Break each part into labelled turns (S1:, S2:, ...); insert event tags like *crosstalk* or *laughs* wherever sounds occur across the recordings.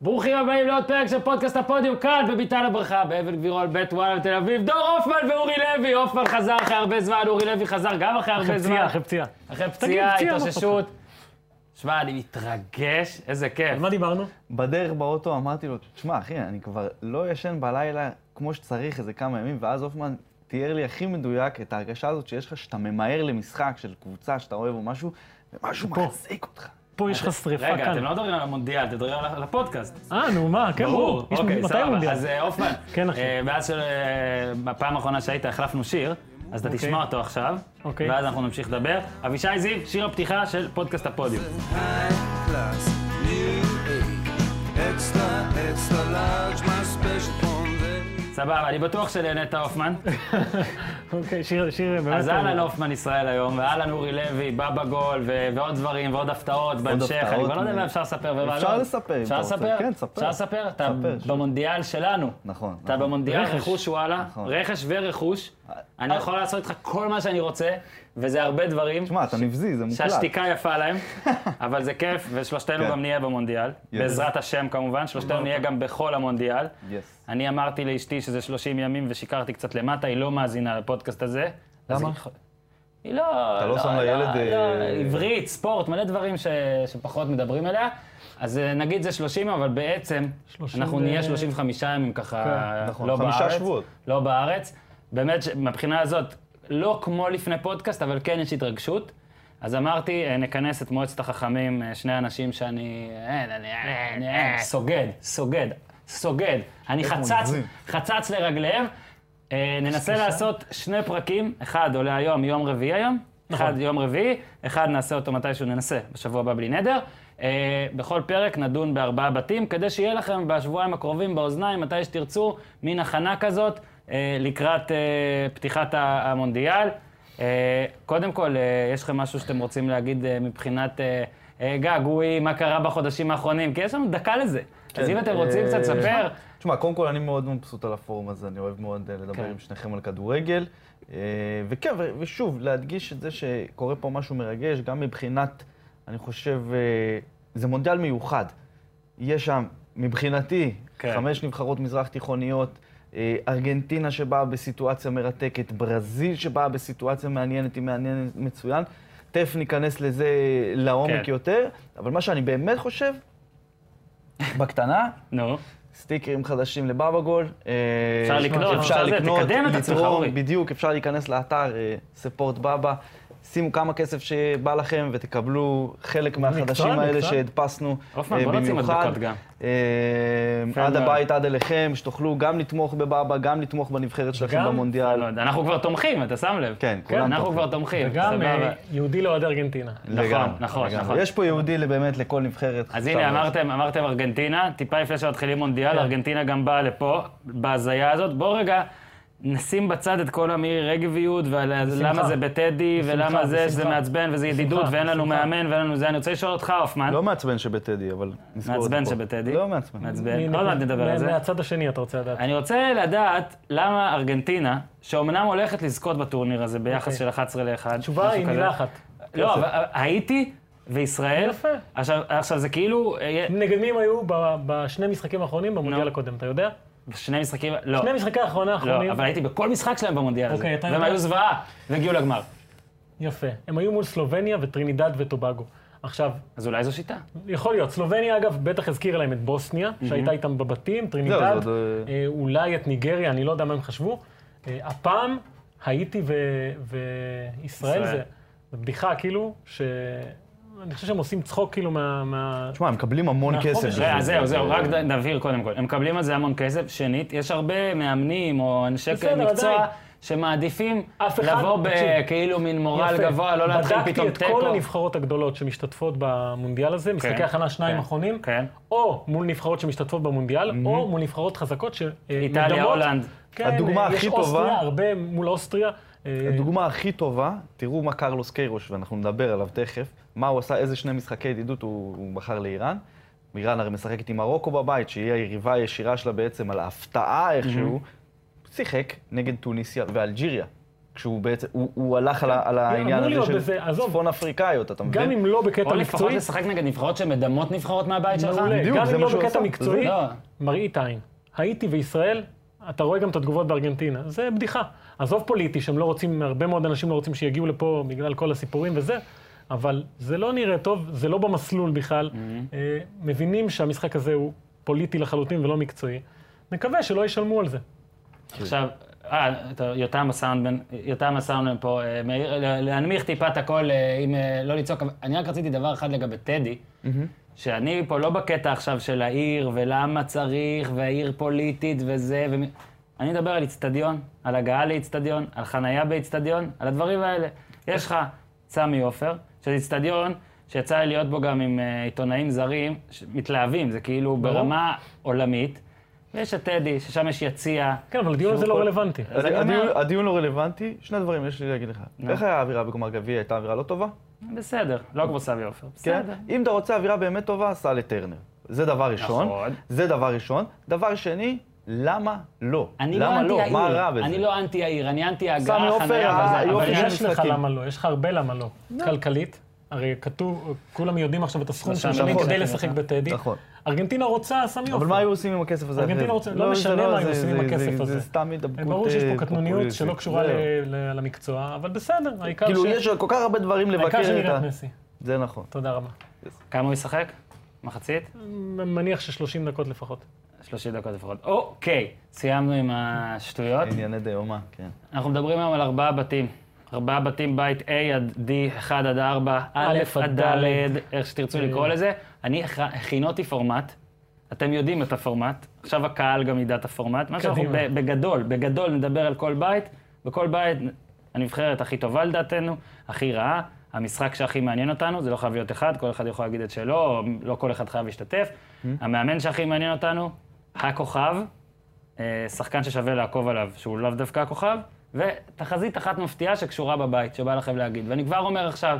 S1: ברוכים הבאים לעוד פרק של פודקאסט הפודיום כאן בביתן הברכה, באבן גבירול, בית וואלה בתל אביב. דור הופמן ואורי לוי. הופמן חזר אחרי הרבה זמן, אורי לוי חזר גם אחרי הרבה
S2: אחרי
S1: זמן.
S2: פציעה, אחרי פציעה.
S1: אחרי פציעה,
S2: פציעה, לא
S1: התאוששות. שמע, אני מתרגש, איזה כיף.
S2: על מה דיברנו?
S3: בדרך באוטו אמרתי לו, תשמע, אחי, אני כבר לא ישן בלילה כמו שצריך איזה כמה ימים, ואז הופמן תיאר לי הכי מדויק את ההרגשה הזאת שיש לך, שאתה ממהר למשחק של קבוצה שאתה אוהב או משהו, ומשהו
S2: פה.
S3: מחזיק אותך.
S2: פה יש לך שריפה כאן.
S1: רגע, אתם לא מדברים על המונדיאל, אתם מדברים על הפודקאסט.
S2: אה, נו, מה, כן, ברור. יש-
S1: אוקיי,
S2: מתי
S1: סבבה.
S2: המונדיאל?
S1: אז אה, הופמן,
S2: כן, אחי.
S1: אה, מאז שבפעם האחרונה שהיית החלפנו שיר, אז אתה תשמע אותו עכשיו,
S2: אוקיי.
S1: ואז אנחנו נמשיך לדבר. אבישי זיו, שיר הפתיחה של פודקאסט הפודיום.
S4: High class, new age. Extra, extra large, my special form there.
S1: סבבה, אני בטוח שנהנית הופמן.
S2: אוקיי, שיר, שיר באמת...
S1: אז אהלן הופמן ישראל היום, ואהלן אורי לוי, בא בגול, ו- ועוד דברים, ועוד הפתעות בהמשך. אני
S3: הפתעות,
S1: כבר לא יודע
S3: מ-
S1: מה אפשר לספר ומה לא.
S3: אפשר לספר, אם
S1: אפשר
S3: אתה רוצה.
S1: לספר?
S3: כן, ספר.
S1: אפשר לספר? אתה
S3: ספר, שוב.
S1: במונדיאל שלנו.
S3: נכון.
S1: אתה לא-
S3: נכון.
S1: במונדיאל
S2: רכש.
S1: רכוש וואלה,
S3: נכון. אה,
S1: רכש ורכוש. אני יכול לעשות איתך כל מה שאני רוצה, וזה הרבה דברים.
S3: תשמע, אתה נבזי, זה מוקלט.
S1: שהשתיקה יפה
S3: *laughs*
S1: להם, אבל זה כיף, ושלושתנו
S3: כן.
S1: גם נהיה במונדיאל. בעזרת השם כמובן, שלושתנו נהיה גם בכל המונדיאל.
S3: Yes.
S1: אני אמרתי לאשתי שזה 30 ימים ושיקרתי קצת למטה, היא לא מאזינה לפודקאסט הזה. אז
S3: למה?
S1: היא- היא לא...
S3: אתה לא שם לילד,
S1: לא,
S3: אה,
S1: עברית, ספורט, מלא דברים ש- שפחות מדברים עליה. אז אה, נגיד זה 30 אבל בעצם
S2: 30
S1: אנחנו
S2: ו-
S1: נהיה 35 ימים ככה,
S3: כן, נכון,
S1: לא בארץ.
S3: חמישה שבועות.
S1: לא בארץ. באמת, ש- מהבחינה הזאת, לא כמו לפני פודקאסט, אבל כן יש התרגשות. אז אמרתי, אה, נכנס את מועצת החכמים, אה, שני אנשים שאני... אין, אני... אין, אין, סוגד, סוגד, סוגד. אני חצץ,
S3: מגזים.
S1: חצץ לרגליהם. אה, ננסה לעשות שני פרקים, אחד עולה היום, יום רביעי היום,
S3: נכון.
S1: אחד יום רביעי, אחד נעשה אותו מתישהו ננסה, בשבוע הבא בלי נדר. אה, בכל פרק נדון בארבעה בתים, כדי שיהיה לכם בשבועיים הקרובים באוזניים, מתי שתרצו, מין הכנה כזאת, אה, לקראת אה, פתיחת ה- המונדיאל. אה, קודם כל, אה, יש לכם משהו שאתם רוצים להגיד אה, מבחינת אה, אה, געגועים, מה קרה בחודשים האחרונים? כי יש לנו דקה לזה. אז אם אתם רוצים
S3: אה,
S1: קצת לספר...
S3: תשמע, קודם כל אני מאוד מבסוט על הפורום הזה, אני אוהב מאוד אה,
S1: כן.
S3: לדבר עם שניכם על כדורגל. אה, וכן, ו- ושוב, להדגיש את זה שקורה פה משהו מרגש, גם מבחינת, אני חושב, אה, זה מונדיאל מיוחד. יש שם, מבחינתי,
S1: כן.
S3: חמש נבחרות מזרח תיכוניות, אה, ארגנטינה שבאה בסיטואציה מרתקת, ברזיל שבאה בסיטואציה מעניינת, היא מעניינת מצוין. תכף ניכנס לזה לעומק
S1: כן.
S3: יותר, אבל מה שאני באמת חושב, בקטנה,
S1: נו.
S3: סטיקרים חדשים לבבא גול. אה,
S1: אפשר לקנות, אפשר
S3: אפשר
S1: זה,
S3: לקנות,
S1: תקדם את עצמך, אורי.
S3: לתרום, בדיוק, אפשר להיכנס לאתר ספורט בבא. שימו כמה כסף שבא לכם ותקבלו חלק מהחדשים
S2: מקצוע.
S3: האלה שהדפסנו אה,
S1: הופמן,
S3: במיוחד.
S1: בוא נוציא מדבקות גם. יפה
S3: אה, עד
S1: מאוד.
S3: הבית, עד אליכם, שתוכלו גם לתמוך בבבא, גם לתמוך בנבחרת שלכם
S2: וגם-
S3: במונדיאל.
S1: לא יודע, אנחנו כבר תומכים, אתה שם לב.
S3: כן, כולם
S1: אנחנו
S3: תומכים.
S1: כבר תומכים,
S2: וגם
S1: אוקיי, סבבה.
S2: אה, יהודי לאוהד ארגנטינה.
S3: לגמרי,
S1: נכון,
S3: לגמרי.
S1: נכון.
S3: יש פה יהודי באמת לכל נבחרת.
S1: אז
S3: שם.
S1: הנה, אמרתם, אמרתם ארגנטינה, טיפה לפני שמתחילים מונדיאל,
S2: כן.
S1: ארגנטינה גם באה לפה, בהזיה הזאת. בואו רגע נשים בצד את כל המירי רגביות, ולמה זה בטדי, ולמה זה, שזה
S2: בשמחה.
S1: מעצבן, וזה ידידות, ואין לנו
S2: בשמחה.
S1: מאמן, ואין לנו זה. אני רוצה לשאול אותך, הופמן.
S3: לא מעצבן שבטדי, אבל נזכור את זה פה.
S1: מעצבן שבטדי.
S3: לא מעצבן.
S1: מעצבן.
S2: הנה,
S1: עוד מעט נדבר על
S2: מה-
S1: זה. אה,
S2: מהצד השני אתה רוצה לדעת.
S1: אני רוצה לדעת למה ארגנטינה, שאומנם הולכת לזכות בטורניר הזה ביחס
S2: אוקיי.
S1: של 11 ל-1,
S2: התשובה היא מילה אחת. כן.
S1: לא, אבל הייתי וישראל.
S2: יפה.
S1: עכשיו, עכשיו זה כאילו, אה, יהיה-
S2: נגד מי הם היו ב- בשני משחקים האחרונים במונדיאל
S1: נו.
S2: הקודם, אתה יודע?
S1: שני משחקים, לא.
S2: שני משחקי האחרונה
S1: לא,
S2: האחרונים.
S1: אבל הייתי בכל משחק שלהם במונדיאל הזה.
S2: אוקיי, אתה
S1: והם
S2: יודע.
S1: היו זוועה, והגיעו לגמר.
S2: יפה. הם היו מול סלובניה וטרינידד וטובגו. עכשיו,
S1: אז אולי זו שיטה.
S2: יכול להיות. סלובניה, אגב, בטח הזכירה להם את בוסניה, שהייתה איתם
S1: לא,
S2: בבתים,
S3: זה
S2: טרינידד,
S3: עוד, אה,
S2: אה, אולי את ניגריה, אני לא יודע מה הם חשבו. אה, הפעם הייתי ו- וישראל
S1: ישראל.
S2: זה זה בדיחה, כאילו, ש... אני חושב שהם עושים צחוק, כאילו, מה... מה-
S3: תשמע, הם מקבלים המון
S2: מהחופש.
S3: כסף.
S2: זה-
S1: נכון. רגע, אז זהו, זהו, רק ד- נבהיר קודם כל. הם מקבלים על זה המון כסף. שנית, יש הרבה מאמנים או אנשי
S2: בסדר,
S1: מקצוע
S2: עדיין.
S1: שמעדיפים
S2: אף אחד-
S1: לבוא
S2: תקשיב.
S1: בכאילו מין מורל
S2: יפה.
S1: גבוה, לא להתחיל פתאום
S2: בדקתי את כל
S1: תיקו.
S2: הנבחרות הגדולות שמשתתפות במונדיאל הזה,
S1: כן,
S2: משחקי הכנה שניים
S1: כן,
S2: אחרונים,
S1: כן.
S2: או מול נבחרות שמשתתפות במונדיאל, או מול נבחרות חזקות שמדמות.
S1: איטליה, הולנד.
S2: כן,
S3: הדוגמה
S2: אה,
S3: הכי
S2: יש
S3: טובה-
S2: אוסטריה, הרבה מול אוסטריה. אה,
S3: הדוגמה הכי טובה, תראו מה קרלוס קיירוש, ואנחנו נדבר עליו תכף, מה הוא עשה, איזה שני משחקי ידידות הוא, הוא בחר לאיראן. איראן הרי משחקת עם מרוקו בבית, שהיא היריבה הישירה שלה בעצם על ההפתעה איכשהו. שיחק נגד טוניסיה ואלג'יריה. כשהוא בעצם, הוא, הוא הלך על, ה- על העניין
S2: כן. לא, אמור
S3: הזה
S2: להיות
S3: של
S2: בזה, עזוב.
S3: צפון אפריקאיות, אתה מבין?
S2: גם אם לא
S1: או
S2: בקטע
S1: לפחות
S2: מקצועי,
S1: לשחק נגד נבחרות שמדמות נבחרות מהבית שלך.
S2: מעולה.
S3: בדיוק,
S2: גם
S3: זה
S2: אם
S3: מה
S2: לא
S3: שהוא
S2: בקטע
S3: עשה.
S2: מקצועי,
S1: לא.
S2: מראית עין. האיטי וישראל, אתה רואה גם את התגובות בארגנטינה. זה בדיחה. עזוב פוליטי, שהם לא רוצים, הרבה מאוד אנשים לא רוצים שיגיעו לפה בגלל כל הסיפורים וזה, אבל זה לא נראה טוב, זה לא במסלול בכלל.
S1: Mm-hmm.
S2: אה, מבינים שהמשחק הזה הוא פוליטי לחלוטין ולא מקצועי. נקווה שלא ישלמו על זה.
S1: עכשיו, אה, טוב, יותם הסאונדמן, יותם הסאונדמן פה, אה, מאיר, ל- להנמיך טיפה את הכל, אה, אם אה, לא לצעוק, אבל אני רק רציתי דבר אחד לגבי טדי, שאני פה לא בקטע עכשיו של העיר, ולמה צריך, והעיר פוליטית וזה, ומי- אני מדבר על איצטדיון, על הגעה לאיצטדיון, על חנייה באיצטדיון, על הדברים האלה. יש לך סמי עופר, שזה איצטדיון שיצא לי להיות בו גם עם אה, עיתונאים זרים, ש- מתלהבים, זה כאילו ברמה עולמית. ויש את טדי, ששם יש יציע,
S2: כן, אבל הדיון
S1: שהוא
S2: הזה לא
S1: כל-
S2: רלוונטי.
S1: אז אני אומר-
S3: הדיון, הדיון לא רלוונטי, שני דברים יש לי להגיד לך. איך היה האווירה בגמר גביע? הייתה אווירה לא טובה?
S1: בסדר, לא כמו סמי עופר.
S3: כן?
S1: בסדר.
S3: אם אתה רוצה אווירה באמת טובה, סע לטרנר. זה דבר ראשון.
S1: נכון.
S3: זה דבר ראשון. דבר שני, למה לא?
S1: אני לא
S3: למה
S1: אנטי העיר.
S3: מה רע בזה?
S1: אני לא אנטי העיר, אני אנטי
S3: סמי
S1: ההגעה,
S3: עופר, אה,
S1: החניה וזה.
S3: היופי
S1: אבל
S2: אבל
S3: של
S2: יש לך
S3: משחקים.
S2: למה לא, יש לך הרבה למה לא. כלכלית, הרי כתוב, כולם יודעים עכשיו את הסכום
S1: נכון,
S2: שמשלמים
S3: נכון.
S2: כדי לשחק בטדי.
S3: נכון.
S2: ארגנטינה רוצה, סמי עופר.
S3: אבל מה היו עושים עם הכסף הזה?
S2: ארגנטינה
S3: אחרי זה?
S2: רוצה- לא
S3: זה
S2: משנה מה היו
S3: זה-
S2: עושים עם
S3: זה-
S2: הכסף
S3: זה-
S2: הזה.
S3: זה סתם הידבקות
S2: ברור שיש
S3: אה,
S2: פה קטנוניות שלא
S3: פופוליסטית.
S2: קשורה
S3: זהו.
S2: ל- ל- למקצוע, אבל בסדר, העיקר
S3: כאילו,
S2: ש-
S3: יש כל כך הרבה דברים לבקר
S2: העיקר
S3: את ה...
S2: שנראית מסי.
S3: זה נכון.
S2: תודה רבה.
S1: כמה הוא ישחק? מחצית?
S2: מ- מניח ש-30 דקות לפחות.
S1: 30 דקות לפחות. אוקיי, סיימנו עם השטויות.
S3: ענייני דיומא, כן.
S1: אנחנו מדברים היום על ארבעה בתים. ארבעה בתים, בית A עד D, 1 עד 4, א'
S2: עד
S1: עד
S2: ד',
S1: ד', איך שתרצו
S2: אה.
S1: לקרוא לזה. אני הכ- הכינותי פורמט, אתם יודעים את הפורמט, עכשיו הקהל גם ידע את הפורמט. מה שאנחנו
S2: קדימה.
S1: ב- בגדול, בגדול נדבר על כל בית, בכל בית הנבחרת הכי טובה לדעתנו, הכי רעה, המשחק שהכי מעניין אותנו, זה לא חייב להיות אחד, כל אחד יכול להגיד את שלו, או לא כל אחד חייב להשתתף.
S2: Mm-hmm.
S1: המאמן שהכי מעניין אותנו, הכוכב, אה, שחקן ששווה לעקוב עליו, שהוא לאו דווקא הכוכב, ותחזית אחת מפתיעה שקשורה בבית, שבא לכם להגיד. ואני כבר אומר עכשיו,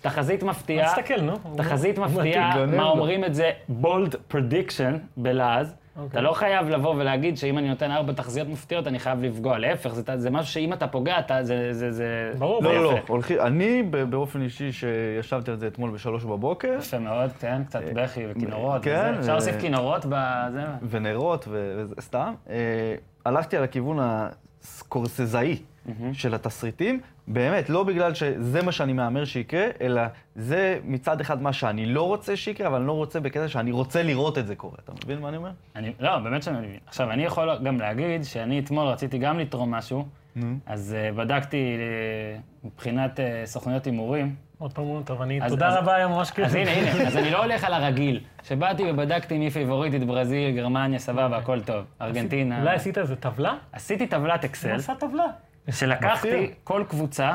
S1: תחזית
S2: אז
S1: מפתיעה,
S2: תסתכל, נו. הוא-
S1: תחזית
S2: הוא מתאים.
S1: מפתיעה,
S3: מתגונן
S1: מה
S3: לו.
S1: אומרים את זה בולד פרדיקשן בלעז. אתה לא חייב לבוא ולהגיד שאם אני נותן ארבע תחזיות מפתיעות, אני חייב לפגוע. להפך, זה- זה משהו שאם אתה פוגע, אתה- זה... זה- זה-
S2: ברור,
S1: זה
S3: לא, לא, לא.
S1: יפה.
S3: הולכים- אני ב- באופן אישי, שישבתי על זה אתמול בשלוש בבוקר,
S1: יפה מאוד, כן, קצת בכי וכינורות.
S3: כן,
S1: וזה. אפשר
S3: אה,
S1: להוסיף כינורות בזה?
S3: ונרות ו- וזה, סתם. אה, הלכתי על הכיוון הסקורסזאי של התסריטים. באמת, לא בגלל שזה מה שאני מהמר שיקרה, אלא זה מצד אחד מה שאני לא רוצה שיקרה, אבל אני לא רוצה בקטע שאני רוצה לראות את זה קורה. אתה מבין מה אני אומר?
S1: אני, לא, באמת שאני מבין. עכשיו, אני יכול גם להגיד שאני אתמול רציתי גם לתרום משהו, אז uh, בדקתי uh, מבחינת uh, סוכנויות הימורים.
S2: עוד פעם, הוא טוב, אני...
S1: אז-
S2: תודה
S1: אז-
S2: רבה, היה ממש כיף.
S1: אז הנה, הנה, אז אני לא הולך על הרגיל. שבאתי ובדקתי מי פיבוריטית, ברזיל, גרמניה, סבבה, הכל טוב. ארגנטינה.
S2: אולי עשית איזה טבלה?
S1: עשיתי טבלת אקסל,
S2: הוא עשה טבלה.
S1: שלקחתי
S3: מפתיע.
S1: כל קבוצה,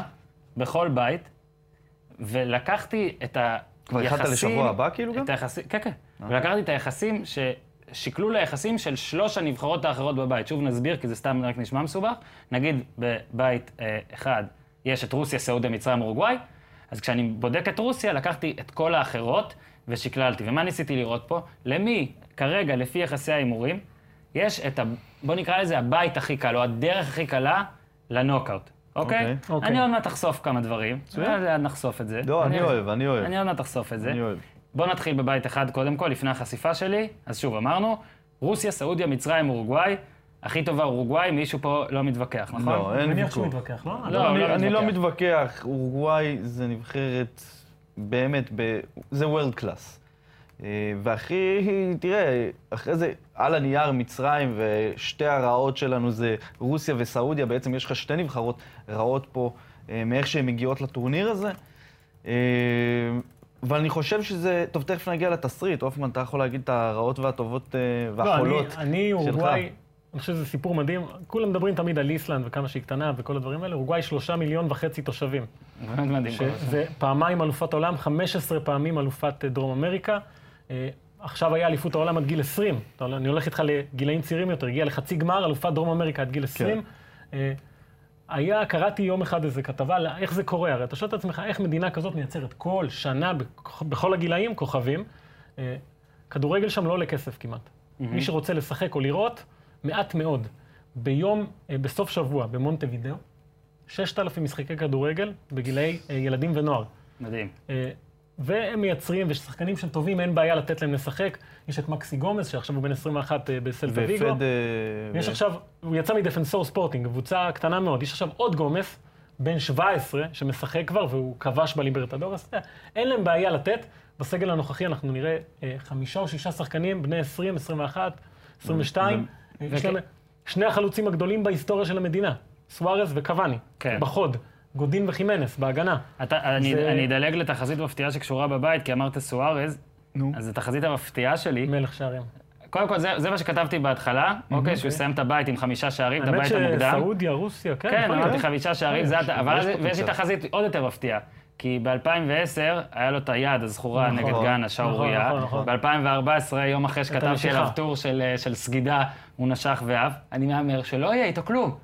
S1: בכל בית, ולקחתי את היחסים...
S3: כבר התחלת לשבוע הבא כאילו גם? אה.
S1: את היחסים, כן, כן. ולקחתי את היחסים ש... שקלול היחסים של שלוש הנבחרות האחרות בבית. שוב נסביר, כי זה סתם רק נשמע מסובך. נגיד בבית אה, אחד יש את רוסיה, סעודיה, מצרים, אורוגוואי, אז כשאני בודק את רוסיה, לקחתי את כל האחרות ושקללתי. ומה ניסיתי לראות פה? למי כרגע, לפי יחסי ההימורים, יש את ה... בוא נקרא לזה הבית הכי קל, או הדרך הכי קלה לנוקאוט, אוקיי?
S3: אוקיי.
S2: אוקיי.
S1: אני עוד מעט אחשוף כמה דברים. מצוין. נחשוף את זה.
S3: לא, אני אוהב, אני אוהב.
S1: אני עוד מעט אחשוף את זה.
S3: אני אוהב.
S1: בואו נתחיל בבית אחד קודם כל, לפני החשיפה שלי. אז שוב, אמרנו, רוסיה, סעודיה, מצרים, אורוגוואי. הכי טובה אורוגוואי, מישהו פה לא מתווכח, נכון?
S3: לא,
S2: אני
S3: אין
S2: מניח שהוא
S3: ויכוח.
S2: מתווכח, לא?
S1: לא,
S3: אני- אני לא
S1: מתווכח.
S3: מתווכח, אורוגוואי זה נבחרת באמת, ב- זה וורד קלאס. והכי, תראה, אחרי זה, על הנייר מצרים ושתי הרעות שלנו זה רוסיה וסעודיה, בעצם יש לך שתי נבחרות רעות פה אה, מאיך שהן מגיעות לטורניר הזה. אה, ואני חושב שזה, טוב, תכף נגיע לתסריט, הופמן, אתה יכול להגיד את הרעות והטובות אה,
S2: לא, אני-
S3: והחולות.
S2: אני
S3: שלך.
S2: אורוגוואי, אני חושב שזה סיפור מדהים. כולם מדברים תמיד על איסלנד וכמה שהיא קטנה וכל הדברים האלה. אורוגוואי שלושה מיליון וחצי תושבים.
S1: באמת מדהים. כל הזמן.
S2: שזה פעמיים אלופת עולם, 15 פעמים אלופת אה, דרום אמריקה. אה, עכשיו היה אליפות העולם עד גיל 20. אתה- אני הולך איתך לגילאים צעירים יותר, הגיע לחצי גמר, אלופת דרום אמריקה עד גיל 20.
S1: כן.
S2: אה, היה, קראתי יום אחד איזה כתבה, על איך זה קורה, הרי אתה שואל את עצמך, איך מדינה כזאת מייצרת כל שנה, בכ- בכל הגילאים, כוכבים. אה, כדורגל שם לא עולה כסף כמעט. מי שרוצה לשחק או לראות, מעט מאוד. ביום, אה, בסוף שבוע, במונטווידאו, 6,000 משחקי כדורגל בגילאי אה, ילדים ונוער.
S1: מדהים.
S2: אה, והם מייצרים, ושחקנים שהם טובים, אין בעיה לתת להם לשחק. יש את מקסי גומז, שעכשיו הוא בן 21 אה, בסלטה ויגו.
S3: והפד... אה,
S2: יש
S3: ו-
S2: עכשיו, הוא יצא מדפנסור ספורטינג, קבוצה קטנה מאוד. יש עכשיו עוד גומס, בן 17, שמשחק כבר, והוא כבש בליברטדורס. אתה יודע, אין להם בעיה לתת. בסגל הנוכחי אנחנו נראה אה, חמישה או שישה שחקנים, בני 20, 21, 22. אה, יש
S1: וכן.
S2: להם שני החלוצים הגדולים בהיסטוריה של המדינה, סוארז וקוואני.
S1: כן.
S2: בחוד, גודין וחימנס, בהגנה.
S1: אתה, אני,
S2: זה-
S1: אני אדלג לתחזית מפתיעה שקשורה בבית, כי אמרת סוארז.
S3: נו.
S1: אז התחזית המפתיעה שלי,
S2: מלך שערים. קודם
S1: קודם כל זה, זה מה שכתבתי בהתחלה, אוקיי, שהוא יסיים את הבית עם חמישה שערים, את הבית המוקדם.
S2: שסעודיה, רוסיה, כן.
S1: כן,
S2: יכול להיות.
S1: אמרתי חמישה שערים, זה אתה, אבל אז- ויש לי תחזית עוד יותר מפתיעה. כי ב-2010 היה לו את היד הזכורה
S2: נכון,
S1: נגד גאנה, שערורייה.
S2: נכון, נכון,
S1: ב-2014, יום אחרי שכתבתי
S2: הנשיכה.
S1: עליו טור של, אה, של סגידה, הוא נשך ואף. אני מהמר שלא יהיה איתו כלום.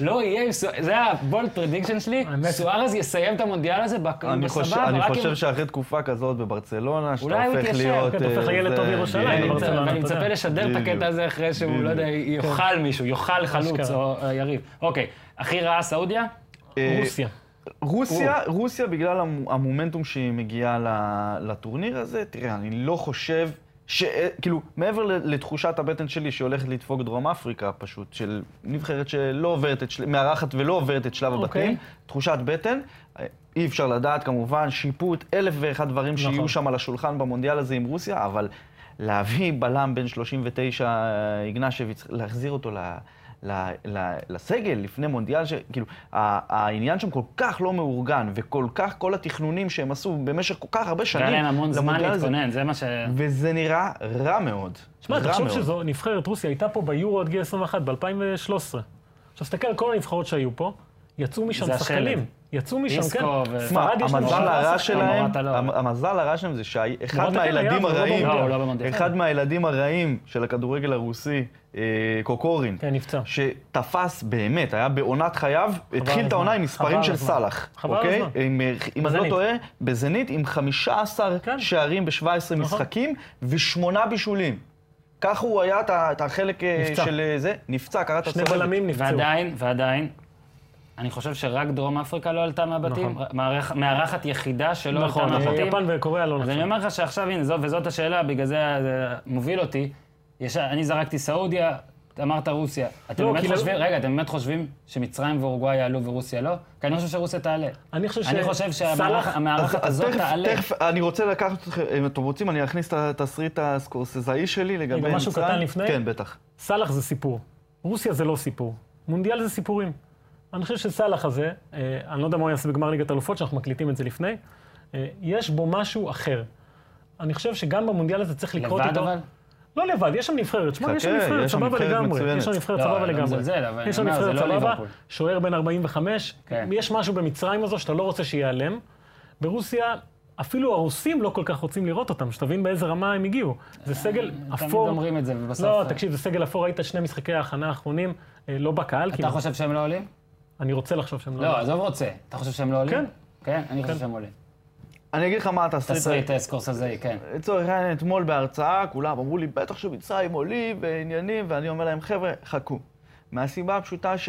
S1: לא יהיה עם סוארז, זה הבולד פרדיקשן שלי,
S2: האמת-
S1: סוארז יסיים את המונדיאל הזה בק-
S2: כאילו,
S3: אני חושב-
S1: בסבבה,
S3: אני
S1: רק
S3: חושב
S1: עם...
S3: שאחרי תקופה כזאת בברצלונה, שאתה
S1: אולי הוא
S3: הופך
S1: יתיישר,
S3: להיות...
S2: כן, אתה הופך
S3: אה,
S2: לילד
S3: זה-
S2: טוב בירושלים,
S3: כן,
S1: אני
S2: אבל
S1: מצפה-
S2: ברצלונה,
S1: ואני
S2: אתה יודע.
S1: מצפה לשדר את
S3: בדיוק.
S1: הקטע הזה אחרי שהוא,
S3: בדיוק. כן.
S1: לא יודע, יאכל מישהו, יאכל חלוץ
S2: אשכרה.
S1: או אה, יריב. אוקיי, הכי רעה סעודיה?
S3: אה,
S2: רוסיה.
S3: רוסיה, רוסיה בגלל המ- המומנטום שהיא מגיעה ל- לטורניר הזה, תראה, אני לא חושב ש... אה, כאילו, מעבר ל- לתחושת הבטן שלי שהולכת לדפוק דרום אפריקה פשוט, של נבחרת שלא עוברת את של... מארחת ולא עוברת את שלב
S2: אוקיי.
S3: הבתים, תחושת בטן, אה, אי אפשר לדעת כמובן, שיפוט, אלף ואחד דברים
S2: נכון.
S3: שיהיו שם על השולחן במונדיאל הזה עם רוסיה, אבל להביא בלם בן 39, אה, איגנשביץ, להחזיר אותו ל... ל, ל, לסגל לפני מונדיאל, ש, כאילו, ה, העניין שם כל כך לא מאורגן, וכל כך כל התכנונים שהם עשו במשך כל כך הרבה שנים,
S1: היה להם המון זמן
S3: למונדיאל הזה,
S1: להתכונן, זה מה ש...
S3: וזה נראה רע מאוד.
S2: שמע,
S3: רע
S2: תחשוב
S3: מאוד.
S2: שזו נבחרת רוסיה, הייתה פה ביורו עד גיל 21, ב-2013. עכשיו, תסתכל על כל הנבחרות שהיו פה, יצאו משם
S1: זה
S2: שחקנים.
S1: השלד.
S2: יצאו משם,
S1: דיסקו
S2: כן.
S1: ו- לא.
S3: מה,
S2: ספרד יש להם
S3: המזל
S2: שבעה
S3: הרע
S2: שחקנים.
S3: שלהם,
S1: מורת הלא.
S3: המ- המזל הרע שלהם זה שאחד
S2: מורת הלא היה, אבל
S3: מהילדים
S2: הוא לא
S3: הרעים,
S1: במונדיאל. לא, הוא לא במונדיאל.
S3: אחד מהילדים הרעים של הכדורגל הרוסי, אה, קוקורין,
S2: כן, נפצע.
S3: שתפס באמת, היה בעונת חייו, התחיל את
S2: הזמן.
S3: העונה עם מספרים
S2: חבל
S3: של
S2: הזמן.
S3: סאלח,
S2: חבל
S3: אוקיי?
S2: הזמן.
S3: עם, אה, אם אני לא
S2: בזנית.
S3: טועה, בזנית עם 15
S2: כן. נכון.
S3: שערים ב-17 משחקים ושמונה בישולים. כך הוא היה את ה- את החלק אה,
S2: נפצע.
S3: של אה, זה, נפצע, קראת
S2: שני בלמים נפצעו.
S1: ועדיין, ועדיין, אני חושב שרק דרום אפריקה לא עלתה מהבתים,
S2: נכון.
S1: מארח- מארחת יחידה שלא עלתה
S2: נכון,
S1: מהבתים.
S2: יפן וקוריאה לא
S1: לא אז
S2: נפצעו.
S1: אני אומר לך שעכשיו, הנה, זו- וזאת השאלה, בגלל זה זה מוביל אותי. יש- אני זרקתי סעודיה, אמרת רוסיה. אתם
S2: לא,
S1: באמת
S2: כי לא-
S1: חושבים, רגע, אתם באמת חושבים שמצרים ואורוגוואי יעלו ורוסיה לא? כי אני חושב שרוסיה תעלה.
S2: אני חושב ש-
S1: אני חושב שהמערכ-
S2: סלאח-
S3: אז-
S1: המארחת
S3: אז
S1: הזאת
S3: תכף-
S1: תעלה.
S3: תכף, אני רוצה לקחת אתכם, אם אתם רוצים, אני אכניס את התסריט הסקורסזאי שלי לגבי
S2: רגע,
S3: מצרים.
S2: משהו קטן לפני?
S3: כן, בטח.
S2: סאלח זה סיפור. רוסיה זה לא סיפור. מונדיאל זה סיפורים. אני חושב שסאלח הזה, אה, אני לא יודע מה הוא יעשה בגמר ליגת אלופות, שאנחנו מקליטים את זה לפני, אה, יש בו משהו אחר. אני חושב שגם במונדיאל הזה צריך לקרות
S1: לבד
S2: איתו...
S1: אבל?
S2: לא לבד, יש שם נבחרת, שמע, יש שם
S3: חכה,
S2: נבחרת
S3: יש שם
S2: סבבה
S3: נבחרת
S2: לגמרי.
S3: מצוינת.
S2: יש שם נבחרת
S1: לא,
S2: סבבה
S1: אני לא
S2: לגמרי.
S1: מזלזל, אבל
S2: יש שם
S1: אני אומר,
S2: נבחרת
S1: זה לא
S2: סבבה,
S1: ליברפול.
S2: שוער בן 45,
S1: כן.
S2: יש משהו במצרים הזו שאתה לא רוצה שייעלם. ברוסיה, אפילו הרוסים לא כל כך רוצים לראות אותם, שתבין באיזה רמה הם הגיעו. זה סגל
S1: אה, תמיד
S2: אפור.
S1: אומרים אה, את זה, ובסוף...
S2: לא, תקשיב, זה סגל אפור, ראית את שני משחקי ההכנה האחרונים, אה, לא בקהל,
S1: אתה
S2: כאילו.
S1: חושב שהם לא עולים?
S2: אני רוצה לחשוב שהם
S1: לא,
S2: לא...
S1: עזוב רוצה. אתה חושב שהם לא עולים?
S2: כן.
S1: כן, אני חושב שהם עולים.
S3: אני אגיד לך מה התסריט.
S1: תסריט סקורסזאי, כן.
S3: לצורך העניין, אתמול בהרצאה, כולם אמרו לי, בטח שמצרים עולים ועניינים, ואני אומר להם, חבר'ה, חכו. מהסיבה הפשוטה ש...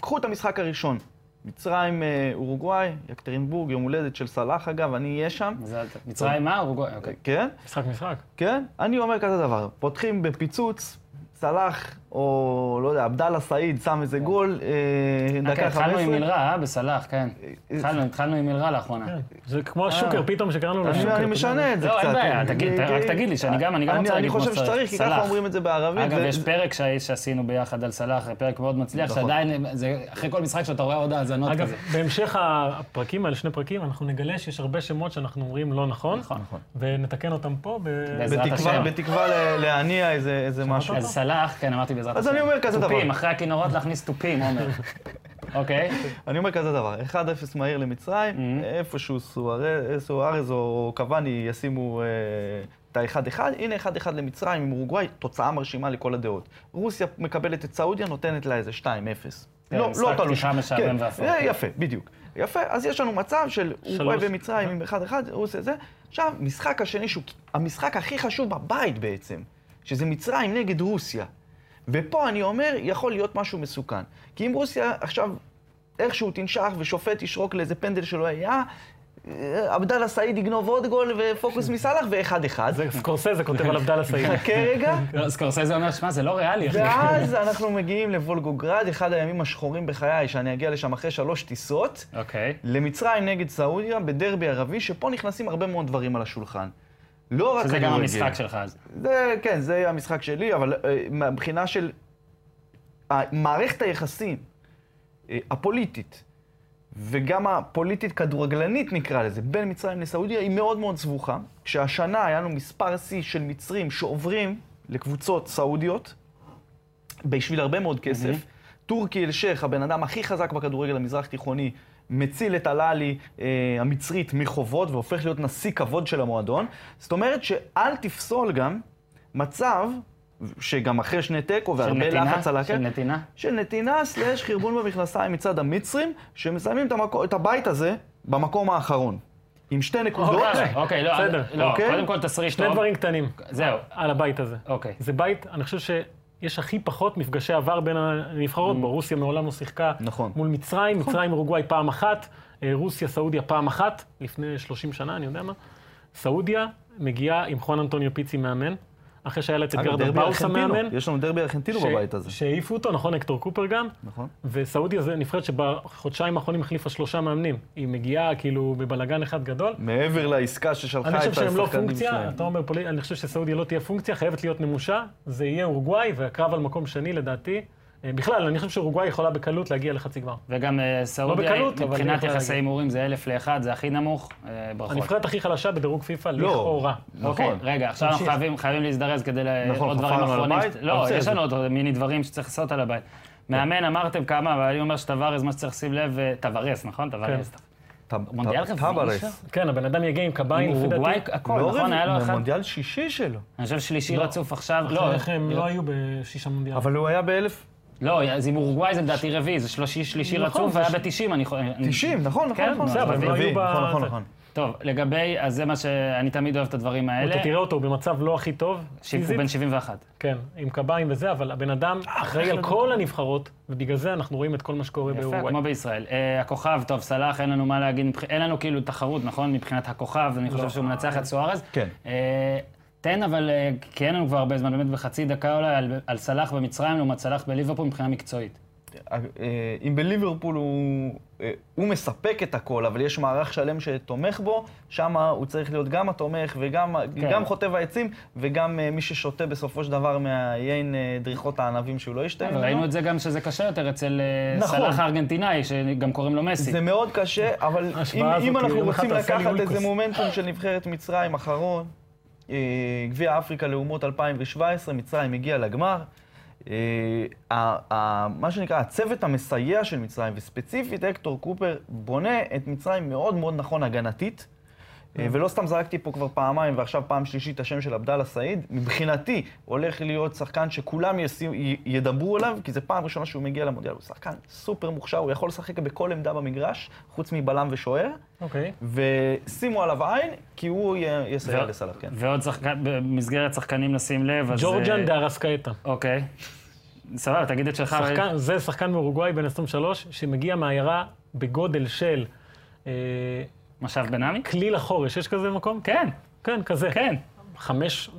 S3: קחו את המשחק הראשון. מצרים, אה, אורוגוואי, יקטרינבורג, יום הולדת של סלאח, אגב, אני אהיה שם.
S1: מזל טוב. מצרים מה? אורוגוואי, אוקיי.
S3: כן?
S2: משחק משחק.
S3: כן? אני אומר כזה דבר, פותחים בפיצוץ, סלאח, או לא יודע, עבדאללה סעיד שם איזה גול, אה,
S1: אה, כן,
S3: דקה 15.
S1: התחלנו עם מלרע, אה? בסלאח, כן. התחלנו- התחלנו עם מלרע לאחרונה.
S2: כן. זה כמו
S1: אה.
S2: השוקר פתאום שקראנו לו
S3: אני-
S2: שוקר.
S3: אני משנה את זה
S1: לא,
S3: קצת.
S1: אין בעיה,
S3: אני-
S1: תגיד,
S3: אני-
S1: רק תגיד לי שאני גם- אני גם רוצה להגיד
S3: אני
S1: כמו
S3: חושב
S1: שצריך.
S3: שצריך, כי ככה
S1: סלאח.
S3: אומרים את זה בערבית.
S1: אגב,
S3: זה-
S1: יש פרק שה- שעשינו ביחד על סלאח, פרק מאוד מצליח,
S3: נכון.
S1: שעדיין, זה אחרי כל משחק שאתה רואה עוד האזנות
S2: אגב,
S1: כזה.
S2: בהמשך הפרקים האלה, שני פרקים, אנחנו נגלה שיש הרבה שמות שאנחנו אומרים לא נכון,
S3: נכון.
S2: ונתקן אותם פה. ב-
S1: בעזרת
S3: בתקווה,
S1: השם.
S3: בתקווה ל- להניע איזה איזה משהו.
S1: אז סלאח, כן, אמרתי בעזרת השם.
S3: אז אני אומר כזה דבר.
S1: תופים, אחרי הכינורות להכניס תופים, עומר.
S3: *laughs*
S1: אוקיי?
S3: אני אומר כזה דבר, 1-0 מהיר
S1: Mm-hmm.
S3: למצרים, איפשהו סוארז סוארז או קוואני ישימו אה, את ה-1-1, הנה 1-1 למצרים עם אורוגוואי, תוצאה מרשימה לכל הדעות. רוסיה מקבלת את סעודיה, נותנת לה איזה 2-0.
S1: כן,
S3: לא,
S1: משחק
S3: לא תלוש.
S1: פתיחה משעמם
S3: כן,
S1: ואפור.
S3: אה, יפה, בדיוק. יפה, אז יש לנו מצב של אורוגוואי ומצרים
S1: אה.
S3: עם 1-1, רוסיה זה. עכשיו, משחק השני שהוא המשחק הכי חשוב בבית בעצם, שזה מצרים נגד רוסיה. ופה אני אומר, יכול להיות משהו מסוכן. כי אם רוסיה עכשיו איכשהו תנשך ושופט ישרוק לאיזה פנדל שלא היה, אה, עבדאללה סעיד יגנוב עוד גול ופוקוס מסלאח ואחד אחד.
S2: זה סקורסזה כותב על עבדאללה
S3: *laughs*
S2: סעיד.
S3: חכה רגע,
S1: לא, סקורסזה אומר, שמע, זה לא ריאלי, אחי.
S3: ואז אנחנו מגיעים לוולגוגרד, אחד הימים השחורים בחיי, שאני אגיע לשם אחרי שלוש טיסות. לא,
S1: אוקיי.
S3: למצרים נגד סעודיה בדרבי ערבי, שפה נכנסים הרבה מאוד דברים על השולחן. לא רק...
S1: שזה גם
S3: כדורגל.
S1: המשחק שלך אז.
S3: זה, כן, זה יהיה המשחק שלי, אבל אה, מהבחינה של מערכת היחסים אה, הפוליטית, וגם הפוליטית כדורגלנית נקרא לזה, בין מצרים לסעודיה, היא מאוד מאוד סבוכה. כשהשנה היה לנו מספר שיא של מצרים שעוברים לקבוצות סעודיות, בשביל הרבה מאוד כסף. טורקי אלשיך, הבן אדם הכי חזק בכדורגל המזרח תיכוני, מציל את הלאלי אה, המצרית מחובות והופך להיות נשיא כבוד של המועדון. זאת אומרת שאל תפסול גם מצב, שגם אחרי שני תיקו
S1: של
S3: והרבה
S1: נתינה?
S3: לחץ על
S1: של
S3: הקרן,
S1: נתינה?
S3: של נתינה סלאש חרבון במכנסיים מצד המצרים, שמסיימים את, המקו, את הבית הזה במקום האחרון. עם שתי נקודות.
S1: אוקיי, אוקיי, לא,
S2: בסדר.
S1: לא,
S3: אוקיי.
S1: קודם כל תסריש
S2: שני
S1: טוב.
S2: דברים קטנים
S1: זהו,
S2: על הבית הזה.
S1: אוקיי.
S2: זה בית, אני חושב שיש הכי פחות מפגשי עבר בין הנבחרות בו. רוסיה מעולם לא שיחקה
S3: נכון.
S2: מול מצרים, מצרים אורוגוואי פעם אחת, אה, רוסיה, סעודיה פעם אחת, לפני 30 שנה, אני יודע מה. סעודיה מגיעה עם חואן אנטוניו פיצי מאמן, אחרי שהיה לה את
S3: אגב,
S2: אדגרדו
S3: דרבי
S2: באוס
S3: ארגנטינו.
S2: המאמן.
S3: יש לנו דרבי ארגנטינו
S2: ש-
S3: בבית הזה.
S2: שהעיפו אותו, נכון, הקטור קופר גם.
S3: נכון.
S2: וסעודיה זה נבחרת שבחודשיים האחרונים החליפה שלושה מאמנים. היא מגיעה כאילו בבלגן אחד גדול.
S3: מעבר לעסקה ששלחה את
S2: אני חושב
S3: השחקנים
S2: שהם
S3: שלהם.
S2: לא פונקציה, אתה אומר פוליט... אני חושב שסעודיה לא תהיה פונקציה, חייבת להיות נמושה. זה יהיה אורוגוואי, והקרב על מקום שני לדעתי. אה, בכלל, אני חושב שאורוגוואי יכולה בקלות להגיע לחצי גמר.
S3: נכון.
S1: וגם אה, סעודיה,
S2: לא בקלות, אבל אני
S1: מבחינת
S2: יכול
S1: יחסי
S2: להגיד.
S1: הימורים זה אלף לאחד, זה הכי נמוך, אה, ברכות.
S2: הנבחרת הכי חלשה בדירוג פיפ"א,
S3: לא.
S2: לכאורה.
S1: אוקיי,
S3: נכון.
S1: רגע, עכשיו אנחנו
S2: תמשיך.
S1: חייבים, חייבים להזדרז כדי ל-
S3: נכון,
S1: עוד דברים
S3: חפרנו על
S1: אחרונים.
S3: הבית, אבל
S1: לא,
S3: בסדר.
S1: יש לנו עוד מיני דברים שצריך לעשות על הבית.
S2: כן.
S1: מאמן, אמרתם כמה, אבל אני אומר שטווארז, מה שצריך לשים לב, אה, טווארז, נכון? טווארז. מונדיאל רביעי
S3: טברס.
S1: שם?
S2: כן, הבן אדם יגיע עם קביים,
S1: עם
S2: לפי דעתי.
S1: אורוגוואי, הכל, נכון? היה לו אחד.
S3: לא מונדיאל שישי שלו.
S1: אני חושב שלישי רצוף עכשיו.
S2: לא,
S1: לא,
S2: איך הם לא היו בשישה מונדיאל.
S3: אבל הוא היה באלף...
S1: לא, אז עם אורוגוואי זה לדעתי רביעי, זה שלושי- שלישי
S2: נכון,
S1: רצוף,
S2: זה
S1: והיה
S2: ש-
S1: ב-90, אני יכול... אני-
S3: 90, נכון, נכון,
S1: כן,
S3: נכון.
S1: בסדר, אבל הם לא
S3: רביעי,
S2: היו ב-
S3: נכון, נכון,
S2: זה.
S3: נכון.
S1: טוב, לגבי, אז זה מה ש... אני תמיד אוהב את הדברים האלה.
S2: אתה אוקיי, תראה אותו, הוא במצב לא הכי טוב.
S1: שהוא
S2: פיזית.
S1: בן 71.
S2: כן, עם קביים וזה, אבל הבן אדם אחראי
S3: לא
S2: על כל הנבחרות, ובגלל זה אנחנו רואים את כל מה שקורה
S1: יפה,
S2: באורוגוואי.
S1: כמו בישראל. אה, הכוכב, טוב, סלאח, אין לנו מה להגיד, מבח- אין לנו כאילו תחרות, נכון? מבחינת הכוכב, אני חושב שהוא מנצח את סוארז.
S3: כן.
S1: אה, תן, אבל, אה, כי אין לנו כבר הרבה זמן, באמת בחצי דקה אולי, על- על סלאח במצרים לעומת סלאח בליברפול מבחינה מקצועית.
S3: אה, אם בליברפול הוא, אה, הוא מספק את הכל, אבל יש מערך שלם שתומך בו, שם הוא צריך להיות גם התומך וגם
S1: כן.
S3: גם חוטב העצים וגם אה, מי ששותה בסופו של דבר מהיין אה, דריכות הענבים שהוא לא ישתה
S1: אבל
S3: ממנו.
S1: ראינו את זה גם שזה קשה יותר אצל אה,
S3: נכון.
S1: סלאח הארגנטינאי, שגם קוראים לו מסי.
S3: זה מאוד קשה, אבל אם,
S2: ההשוואה הזאת,
S3: אם אנחנו
S2: יום אחד
S3: רוצים
S2: תעשה לי
S3: לקחת
S2: אולקוס.
S3: איזה מומנטום של נבחרת מצרים אחרון, אה, גביע אפריקה לאומות 2017, מצרים הגיעה לגמר. אה, ה- ה- מה שנקרא, הצוות המסייע של מצרים, וספציפית הקטור קופר, בונה את מצרים מאוד מאוד נכון הגנתית. אה, ולא סתם זרקתי פה כבר פעמיים, ועכשיו פעם שלישית את השם של עבדאללה סעיד. מבחינתי, הולך להיות שחקן שכולם יסי- י- ידברו עליו, כי זו פעם ראשונה שהוא מגיע למונדיאל. הוא שחקן סופר מוכשר, הוא יכול לשחק בכל עמדה במגרש, חוץ מבלם ושוער,
S2: אוקיי.
S3: ושימו עליו עין, כי הוא י- יסייע לסלאח, כן.
S1: ועוד שחקן, במסגרת שחקנים לשים לב, אז...
S2: ג'ורג'ן
S1: אה,
S2: דארסקאטה.
S1: אוקיי. סבבה, תגיד את שלך. אבל-
S2: שחקן, זה שחקן מאורוגוואי בן 23, שמגיע מעיירה בגודל של אה,
S1: משאב בן עמי?
S2: כליל החורש, יש כזה מקום?
S1: כן,
S2: כן, כזה.
S1: כן.
S2: חמש,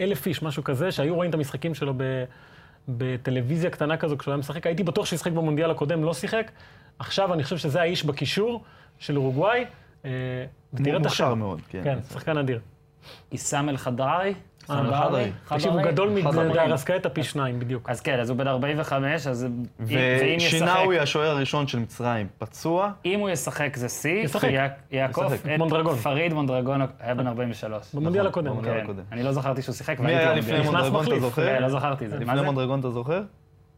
S2: אלף איש, משהו כזה, שהיו רואים את המשחקים שלו ב, בטלוויזיה קטנה כזו כשהוא היה משחק. הייתי בטוח שהוא ישחק במונדיאל הקודם, לא שיחק. עכשיו אני חושב שזה האיש בקישור של אורוגוואי. אה, ותראה את
S3: מוכשר
S2: השם.
S3: מאוד, כן.
S2: כן, שחקן אדיר.
S1: אה, עיסאם אל-חדרי?
S3: אל-חדרי.
S2: תקשיב, הוא גדול
S3: חזן.
S2: מדארסקאטה פי שניים בדיוק.
S1: אז כן, אז הוא בן 45, אז אם- ואם ישחק,
S3: ושינאווי, השוער הראשון של מצרים, פצוע.
S1: אם הוא ישחק זה שיא,
S2: ישחק.
S1: כי יע- יעקוף
S3: ישחק.
S1: את
S2: מונדרגון.
S1: פריד מונדרגון, היה בן 43.
S2: במונדיאל
S3: נכון,
S2: הקודם.
S3: במונדיאל.
S1: כן,
S3: הקודם.
S1: אני לא זכרתי שהוא שיחק,
S3: מי
S1: והייתי
S3: היה
S1: במונדיאל.
S3: לפני
S2: נכנס
S3: מונדרגון, אתה
S2: מחליף.
S3: זוכר?
S1: לא זכרתי את זה. מה
S3: לפני
S1: זה?
S3: מונדרגון, אתה זוכר?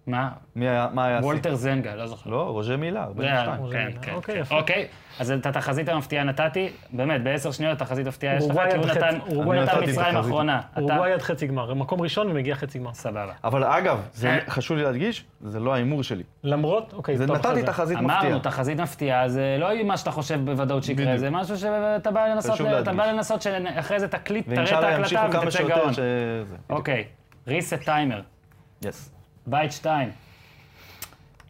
S1: מה?
S3: מי היה, מה היה השיא?
S1: וולטר זנגה, לא זוכר.
S3: לא, רוז'ה מילה,
S1: זה היה-
S3: 42.
S1: כן,
S2: מילה.
S1: כן.
S2: אוקיי,
S1: כן.
S2: יפה.
S1: אוקיי, אז את התחזית המפתיעה נתתי, באמת, בעשר שניות תחזית הפתיעה יש לך,
S2: אורוגוואי
S1: כי הוא
S2: עד
S1: נתן
S2: חצי-
S1: הוא
S2: אורוגוואי
S1: נתן
S3: עד חצי
S1: מצרים
S3: תחזית.
S1: אחרונה. אתה-
S2: אורוגוואי עד חצי גמר, מקום ראשון ומגיע חצי גמר.
S1: סבבה.
S3: אבל אגב, זה
S1: אה.
S3: חשוב לי להדגיש, זה לא ההימור שלי.
S2: למרות, אוקיי,
S3: זה
S1: לא-
S2: טוב,
S3: נתתי
S2: אחרי זה.
S3: תחזית מפתיעה.
S1: אמרנו, תחזית מפתיעה זה לא מה שאתה חושב בוודאות שיקרה,
S3: בדיוק.
S1: זה משהו שאתה בא לנסות,
S3: חשוב
S1: אתה
S3: להדגיש.
S1: בא לנסות שאחרי זה תקליט, תראה את
S3: ואינשאללה ימשיכו
S1: ההקלטה
S3: כמה
S1: ותצא
S3: שיותר
S1: גאון.
S3: שזה...
S1: אוקיי, reset timer,
S3: יס.
S1: בית 2.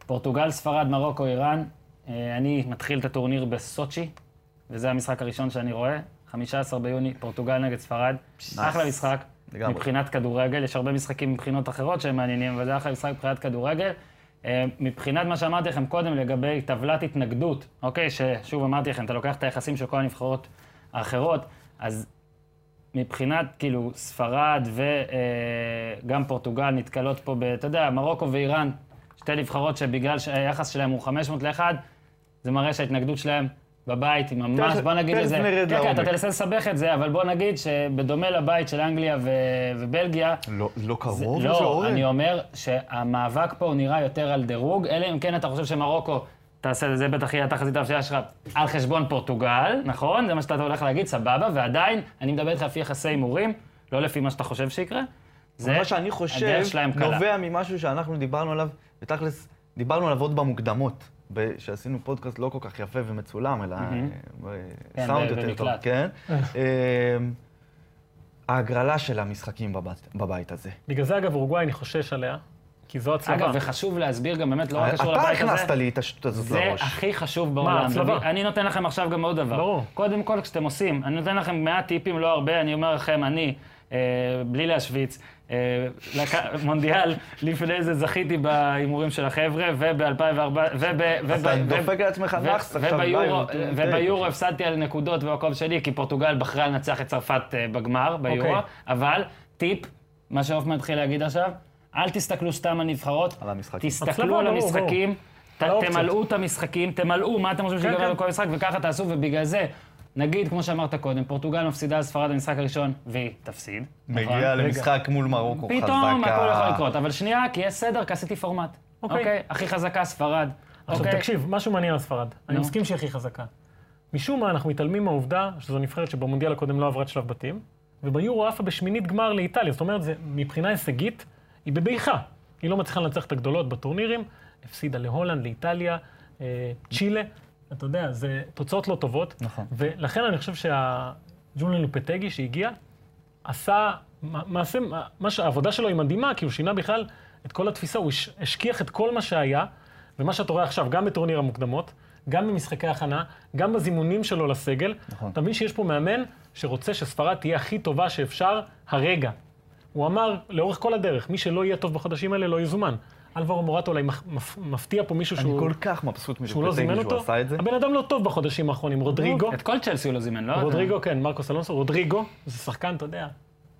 S1: פורטוגל, ספרד, מרוקו, איראן. אה, אני מתחיל את הטורניר בסוצ'י, וזה המשחק הראשון שאני רואה. 15 ביוני, פורטוגל נגד ספרד. אחלה משחק.
S5: לגמרי.
S1: מבחינת כדורגל, יש הרבה משחקים מבחינות אחרות שהם מעניינים, אבל זה אחלה משחק מבחינת כדורגל. אה, מבחינת מה שאמרתי לכם קודם לגבי טבלת התנגדות, אוקיי, ששוב אמרתי לכם, אתה לוקח את היחסים של כל הנבחרות האחרות, אז מבחינת, כאילו, ספרד וגם פורטוגל נתקלות פה ב... אתה יודע, מרוקו ואיראן, שתי נבחרות שבגלל שהיחס שלהם הוא 500 ל-1, זה מראה שההתנגדות שלהם בבית היא ממש,
S3: תכף-
S1: בוא נגיד
S3: תכף
S1: את זה...
S3: נרד
S1: כן, כן, אתה
S3: לעומק.
S1: תנסה לסבך את זה, אבל בוא נגיד שבדומה לבית של אנגליה ו... ובלגיה,
S5: לא, לא
S1: זה-
S5: קרוב לזה,
S1: לא,
S5: אורן?
S1: אני אומר שהמאבק פה הוא נראה יותר על דירוג, אלא אם כן אתה חושב שמרוקו תעשה, זה בטח יהיה התחזית ההפשיעה שלך, על חשבון פורטוגל, נכון? זה מה שאתה הולך להגיד, סבבה, ועדיין, אני מדבר איתך לפי יחסי הימורים, לא לפי מה שאתה חושב שיקרה. זה,
S3: מה שאני חושב
S1: הדרך שלהם קלה.
S3: נובע ממשהו שאנחנו דיברנו עליו, ותכלס, דיברנו עליו עוד במוקדמות, ב- שעשינו פודקאסט לא כל כך יפה ומצולם, אלא אה,
S1: כן,
S3: סאונד
S1: ב-
S3: יותר טוב.
S1: במקלט.
S3: כן. אה, ההגרלה של המשחקים בבת- בבית הזה.
S1: לא
S2: בגלל זה, אגב, אורוגוואי, אני חושש עליה, כי זו הצלבה.
S1: אגב, וחשוב להסביר גם באמת, לא רק קשור
S3: אתה
S1: לבית הזה.
S3: הכנסת לי את השטות הזאת
S1: זה
S3: לראש.
S1: הכי חשוב בעולם.
S2: הצלבה?
S1: וב- אני נותן לכם עכשיו גם עוד דבר.
S2: ברור.
S1: קודם כל, כשאתם עושים, אני נותן לכם 100 טיפים, לא הרבה, אני אומר לכם, אני, אה, בלי להשוויץ, אה, לק- *laughs* מונדיאל, לפני זה זכיתי בהימורים של החבר'ה, וב-2004, וב...
S3: אתה
S1: וב-
S3: דופק על עצמך
S1: ו-
S3: נאחס עכשיו,
S1: וביורו-
S3: לייב, אתה יודע.
S1: וביורו הפסדתי על נקודות במקום שני, כי פורטוגל בחרה לנצח את צרפת אה, בגמר, ביורו,
S2: אוקיי.
S1: אבל טיפ, מה שהופמן התחיל להגיד עכשיו, אל תסתכלו סתם על נבחרות,
S3: על המשחקים.
S1: תסתכלו
S2: הצלבה,
S1: על
S2: ברור, ברור.
S1: המשחקים, ת-
S2: לא על האופציות.
S1: תמלאו את המשחקים, תמלאו מה אתם חושבים
S2: כן,
S1: שיגמר
S2: כן.
S1: בכל משחק, וככה תעשו, ובגלל זה, נגיד, כמו שאמרת קודם, פורטוגל מפסידה לספרד במשחק הראשון, והיא תפסיד. נכון?
S3: מגיע למשחק מול מרוקו חזקה.
S1: פתאום הכל יכול לקרות, אבל שנייה, כי יש סדר, כי עשיתי פורמט.
S2: אוקיי.
S1: אוקיי? הכי חזקה ספרד.
S2: עכשיו
S1: אוקיי?
S2: תקשיב, משהו מעניין על ספרד. אני
S1: נו.
S2: מסכים שהיא הכי חזקה. משום מה, אנחנו מתעלמים מהעובדה שזו נבחרת שבמונדיאל הקודם לא עברה את שלב בתים, וביורו עפה בשמינית גמר לאיטליה. זאת אומרת, זה, מבחינה הישגית, היא בבעיכה. היא לא מצליחה לנצח את הגדולות בטורנירים, הפסידה להולנד, לאיטליה, אה, צ'ילה. אתה יודע, זה תוצאות לא טובות.
S3: נכון.
S2: ולכן אני חושב שהג'וליאן לופטגי שהגיע, עשה מע- מעשה, מה- מה שהעבודה שלו היא מדהימה, כי הוא שינה בכלל את כל התפיסה, הוא הש- השכיח את כל מה שהיה, ומה שאתה רואה עכשיו, גם בטורניר המוקדמות, גם במשחקי הכנה, גם בזימונים שלו לסגל.
S3: נכון.
S2: אתה מבין שיש פה מאמן שרוצה שספרד תהיה הכי טובה שאפשר הרגע. הוא אמר לאורך כל הדרך, מי שלא יהיה טוב בחודשים האלה לא יזומן. אלברו מורט אולי מח- מפ- מפתיע פה מישהו
S3: אני
S2: שהוא,
S3: כל כך מבסוט
S2: שהוא לא זימן
S3: מלפטגי שהוא
S2: אותו.
S3: עשה את זה.
S2: הבן אדם לא טוב בחודשים האחרונים, רודריגו.
S1: את כל צ'לסי הוא לא זימן, לא?
S2: רודריגו, כן, מרקוס אלונסו, רודריגו, זה שחקן, אתה יודע,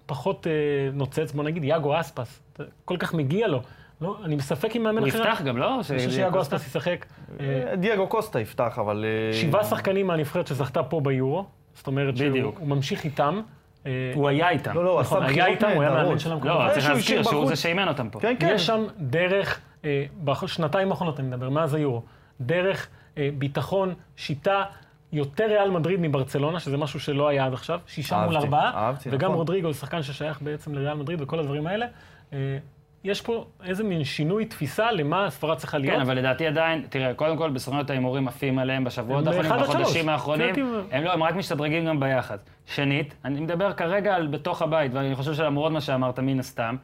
S2: פחות אה, נוצץ, בוא נגיד, יאגו אספס, אתה- כל כך מגיע לו. לא, אני בספק אם מאמן
S1: הוא
S2: אחר...
S1: יפתח גם, לא?
S2: אני חושב שיאגו אספס ישחק. אה,
S3: דייגו קוסטה יפתח, אבל... אה,
S2: שבעה שחקנים מהנבחרת שזכתה פה ביורו, זאת אומרת שהוא
S1: בדיוק.
S2: הוא ממשיך איתם. אה,
S1: הוא היה איתם.
S3: לא, לא, הוא עשה
S2: נכון, היה
S3: בחירות
S2: איתם, הוא היה מאמן
S3: נהדרות.
S2: שלהם.
S1: לא,
S3: אחרי
S1: צריך
S3: שהוא
S1: להזכיר
S3: השאיר
S1: שהוא זה
S3: בחוץ.
S1: שאימן אותם פה.
S3: כן, כן.
S2: יש שם דרך, אה, בשנתיים האחרונות אני מדבר, מאז היורו, דרך אה, ביטחון, שיטה, יותר ריאל מדריד מברצלונה, שזה משהו שלא היה עד עכשיו, שישה מול
S3: אהבתי,
S2: ארבעה,
S3: אהבתי,
S2: וגם
S3: נכון.
S2: רודריגו הוא שחקן ששייך בעצם לריאל מדריד וכל הדברים האלה. אה, יש פה איזה מין שינוי תפיסה למה הספרד צריכה להיות.
S1: כן, אבל לדעתי עדיין, תראה, קודם כל בסוכנויות ההימורים עפים עליהם בשבועות
S2: הם
S1: האחרונים,
S2: באחד עד שלוש.
S1: בחודשים האחרונים,
S2: לדעתי-
S1: הם לא, הם רק משתדרגים גם ביחס. שנית, אני מדבר כרגע על בתוך הבית, ואני חושב שלמרות מה שאמרת, מן הסתם,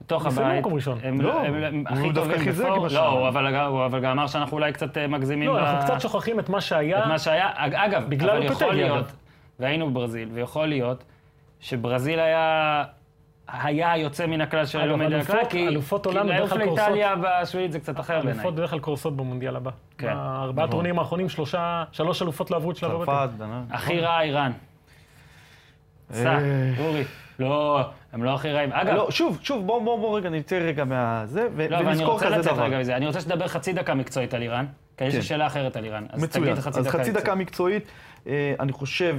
S1: בתוך
S2: הם סיימו
S1: הבית,
S2: מקום ראשון.
S1: הם
S3: לא,
S1: הם- הם
S3: הוא
S1: הכי
S3: דווקא
S1: טובים
S3: חיזק
S1: בפור-
S3: מה
S1: לא,
S3: שאמר.
S1: הוא אבל הוא אבל גם אמר שאנחנו אולי קצת אה, מגזימים.
S2: לא,
S1: ב-
S2: אנחנו קצת שוכחים את מה שהיה.
S1: את מה שהיה, אג- אגב,
S2: בגלל
S1: אבל יכול
S2: לופטגי,
S1: להיות,
S2: אגב.
S1: והיינו בברזיל, ויכול להיות שברזיל היה... היה היוצא מן הכלל של
S2: אגב,
S1: היום מן
S2: אלופות-
S1: הכלל, כי
S2: אלופות
S1: כי לא
S2: עולם בדרך
S1: לעוף
S2: כלל קורסות.
S1: לאיטליה בשביעית זה קצת אחר בעיניי.
S2: אלופות בדרך כלל קורסות במונדיאל הבא.
S1: כן.
S2: בארבעה טורנירים האחרונים, שלושה, שלוש אלופות לא עברו את שלב הבתים.
S3: צרפת, אה, דנה.
S1: הכי רע איראן. סע,
S2: אה.
S1: אורי. לא, הם לא הכי רעים. אגב,
S3: לא, שוב, שוב, בוא, בוא, בוא רגע, נצא רגע מהזה, ו-
S1: לא, אבל אני
S3: ונזכור
S1: רוצה
S3: כזה
S1: לצאת
S3: דבר.
S1: רגע מזה. אני רוצה שתדבר חצי דקה מקצועית על איראן, כי יש לי
S3: כן.
S1: שאלה אחרת על איראן. אז
S3: מצוין.
S1: תגיד חצי
S3: אז
S1: דקה
S3: חצי דקה
S1: מקצועית.
S3: מקצועית. אה, אני חושב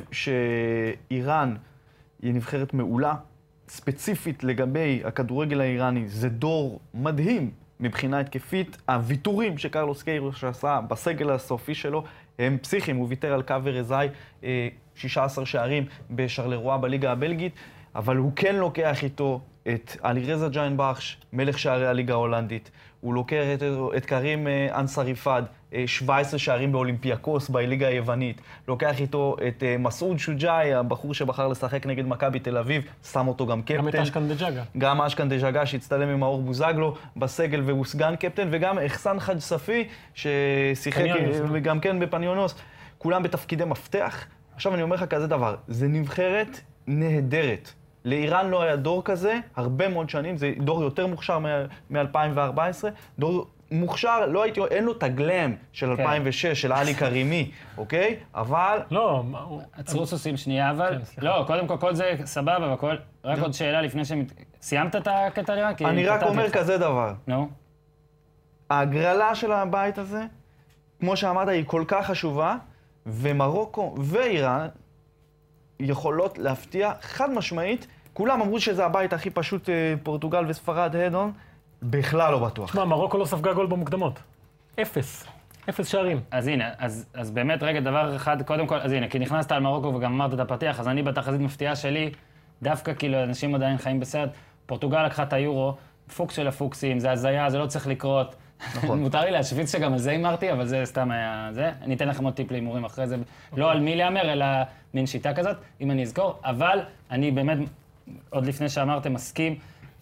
S3: שאיראן היא נבחרת מעולה. ספציפית לגבי הכדורגל האיראני, זה דור מדהים מבחינה התקפית. הוויתורים שקרלוס קייר שעשה בסגל הסופי שלו הם פסיכיים. הוא ויתר על קאבר אזאי, אה, 16 שערים בשרלרואה בליגה הבלגית, אבל הוא כן לוקח איתו את אלירזה ג'יינבחש, מלך שערי הליגה ההולנדית. הוא לוקח את, את קרים אה, אנסרי פאד, אה, 17 שערים באולימפיאקוס, בליגה היוונית. לוקח איתו את אה, מסעוד שוג'אי, הבחור שבחר לשחק נגד מכבי תל אביב, שם אותו גם קפטן.
S2: גם את אשכן דג'אגה.
S3: גם אשכן דז'אגה שהצטלם עם מאור בוזגלו בסגל והוא סגן קפטן, וגם אחסן חאג' ספי ששיחק
S2: פניונוס,
S3: אה,
S2: לא?
S3: גם כן בפניונוס. כולם בתפקידי מפתח. עכשיו אני אומר לך כזה דבר, זה נבחרת נהדרת. לאיראן לא היה דור כזה הרבה מאוד שנים, זה דור יותר מוכשר מ-2014, דור מוכשר, לא הייתי, אין לו את הגלם של 2006, של עלי כרימי, אוקיי? אבל
S2: לא, מה, הוא-
S1: עצרו סוסים שנייה, אבל...
S2: כן, סליחה.
S1: לא, קודם כל, כל זה סבבה והכל. רק עוד שאלה לפני שמת... סיימת את הקטע לירן? כי
S3: לא. אני רק
S1: קטעתי
S3: אומר
S1: אותך.
S3: כזה דבר,
S1: נו.
S3: ההגרלה של הבית הזה, כמו שאמרת, היא כל כך חשובה, ומרוקו ואיראן יכולות להפתיע חד משמעית. כולם אמרו שזה הבית הכי פשוט, אה, פורטוגל וספרד, הדון, בכלל לא בטוח.
S2: תשמע, מרוקו לא ספגה גול במוקדמות. אפס. אפס שערים.
S1: אז הנה, אז, אז באמת, רגע, דבר אחד, קודם כל, אז הנה, כי נכנסת על מרוקו וגם אמרת את הפתיח, אז אני בתחזית מפתיעה שלי, דווקא כאילו, אנשים עדיין חיים בסרט, פורטוגל לקחה את היורו, פוקס של הפוקסים, זה הזיה, זה לא צריך לקרות.
S3: נכון.
S1: *laughs* מותר לי להשוויץ שגם על זה הימרתי, אבל זה סתם היה זה. אני אתן לכם עוד טיפ להימורים אחרי זה.
S2: אוקיי.
S1: לא על מי להמר, אלא מין שיטה כזאת, אם אני אזכור, אבל אני באמת, עוד לפני שאמרתם, מסכים.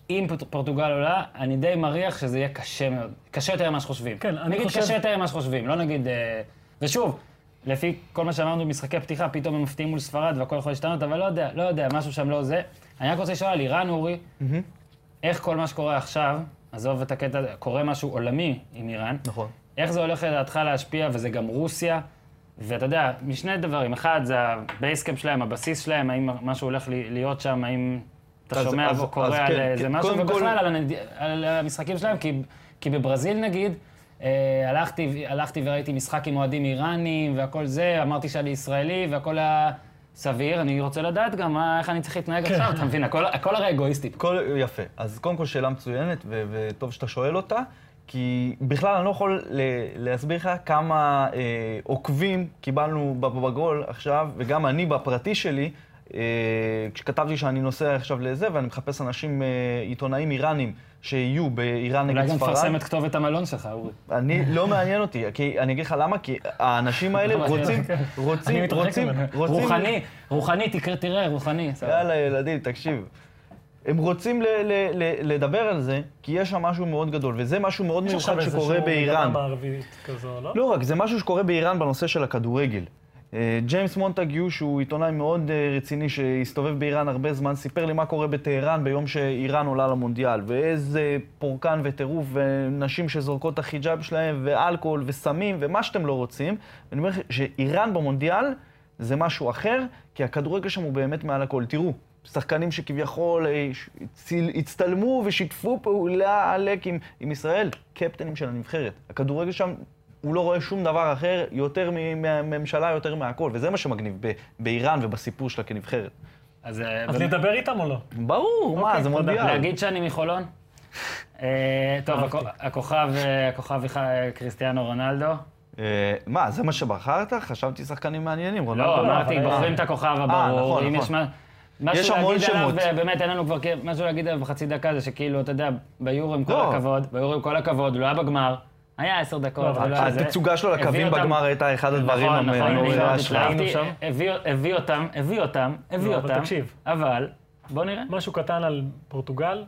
S1: אם פורט- פורטוגל עולה, אני די מריח שזה יהיה קשה מאוד. קשה יותר ממה שחושבים.
S2: כן, אני
S1: נגיד
S2: חושב-
S1: קשה יותר ממה שחושבים, לא נגיד... אה, ושוב, לפי כל מה שאמרנו במשחקי פתיחה, פתאום הם מפתיעים מול ספרד והכל יכול להשתנות, אבל לא יודע, לא יודע, משהו שם לא זה. אני רק רוצה לשאול על איראן, אורי, איך כל מה שקורה עכשיו, עזוב את הקטע, קורה משהו עולמי עם איראן,
S3: נכון.
S1: איך זה הולך לדעתך להשפיע, וזה גם רוסיה, ואתה יודע, משני דברים, אחד זה הבייסקאפ שלהם, הבסיס שלהם, האם משהו הולך לי- להיות שם, האם אתה
S3: אז-
S1: שומע
S3: אז- אז
S1: וקורא על
S3: כן,
S1: איזה
S3: כן,
S1: משהו,
S3: קודם כל-
S1: ובכלל על הנד- על המשחקים שלהם, כי- כי בברזיל נגיד, אה, הלכתי- הלכתי וראיתי משחק עם אוהדים איראנים והכל זה, אמרתי שאני ישראלי והכל היה סביר, אני רוצה לדעת גם מה- איך אני צריך להתנהג
S3: כן.
S1: עכשיו, אתה מבין? הכל- הכל הרי אגואיסטי.
S3: כל, יפה. אז קודם כל שאלה מצוינת, ו- וטוב שאתה שואל אותה, כי בכלל אני לא יכול ל- להסביר לך כמה אה, עוקבים קיבלנו בגול עכשיו, וגם אני בפרטי שלי, אה, כשכתבתי שאני נוסע עכשיו לזה, ואני מחפש אנשים, אה, עיתונאים איראנים, שיהיו באיראן נגד
S1: אולי
S3: ספרד.
S1: גם תפרסם את כתובת המלון שלך, אורי.
S3: אני, לא מעניין אותי, כי אני אגיד לך למה, כי האנשים האלה
S1: *laughs* לא מעניין
S3: רוצים,
S1: אותי.
S3: רוצים,
S2: מתרחק
S3: רוצים,
S2: ממנו.
S3: רוצים...
S1: רוחני, רוחני, תקרא- תראה, רוחני. סבבה.
S3: יאללה, ילדים, תקשיב. הם רוצים ל- ל- ל- לדבר על זה, כי יש שם משהו מאוד גדול, וזה משהו מאוד
S2: יש
S3: מיוחד
S2: עכשיו
S3: שקורה
S2: איזשהו
S3: באיראן.
S2: מגמה מערבית כזו, לא?
S3: לא רק, זה משהו שקורה באיראן בנושא של הכדורגל. אה, ג'יימס מונטגיו, שהוא עיתונאי מאוד אה, רציני, שהסתובב באיראן הרבה זמן, סיפר לי מה קורה בטהרן ביום שאיראן עולה למונדיאל, ואיזה פורקן וטירוף, ונשים שזורקות את החיג'אב שלהם, ואלכוהול, וסמים, ומה שאתם לא רוצים. אני אומר לך שאיראן במונדיאל זה משהו אחר, כי הכדורגל שם הוא באמת מעל הכל. תראו, שחקנים שכביכול אה, ש- ציל- הצטלמו ושיתפו פעולה עלק עם, עם ישראל, קפטנים של הנבחרת. הכדורגל שם, הוא לא רואה שום דבר אחר יותר מ- מהממשלה, יותר מהכל, וזה מה שמגניב ב- באיראן ובסיפור שלה כנבחרת.
S1: אז אה,
S2: אז
S1: באמת-
S2: לדבר איתם או לא?
S3: ברור, מה,
S2: אוקיי,
S3: זה
S2: תודה.
S3: מונדיאל.
S1: להגיד שאני מחולון? אה, טוב,
S2: אהבתי.
S1: הכ- הכוכב, אה, הכוכב איך- אה, קריסטיאנו רונלדו. לא,
S3: אה, מה, זה מה שבחרת? חשבתי שחקנים מעניינים,
S1: לא,
S3: רונלדו.
S1: אמרתי,
S2: אבל-
S1: בוחרים את הכוכב הברור.
S3: נכון,
S1: אם
S3: נכון.
S1: יש מה- משהו
S3: יש המון
S1: להגיד עליו,
S3: שמות.
S1: אה, באמת, אין לנו כבר כ- משהו להגיד עליו בחצי דקה, זה שכאילו, אתה יודע, ביורו עם כל
S3: לא.
S1: הכבוד, ביורו עם כל הכבוד, הוא לא היה בגמר, היה עשר דקות.
S2: אבל
S1: הוא לא היה זה.
S3: התצוגה שלו
S1: הביא
S3: לקווים
S1: אותם-
S3: בגמר הייתה אחד הדברים
S1: נכון, נכון,
S3: המעוררי
S1: אני מאוד
S3: ההשראה.
S1: התלהבתי,
S2: עכשיו?
S1: הביא- הביא אותם, הביא אותם, הביא
S2: לא, אבל
S1: אותם,
S2: תקשיב.
S1: אבל בוא נראה.
S2: משהו קטן על פורטוגל,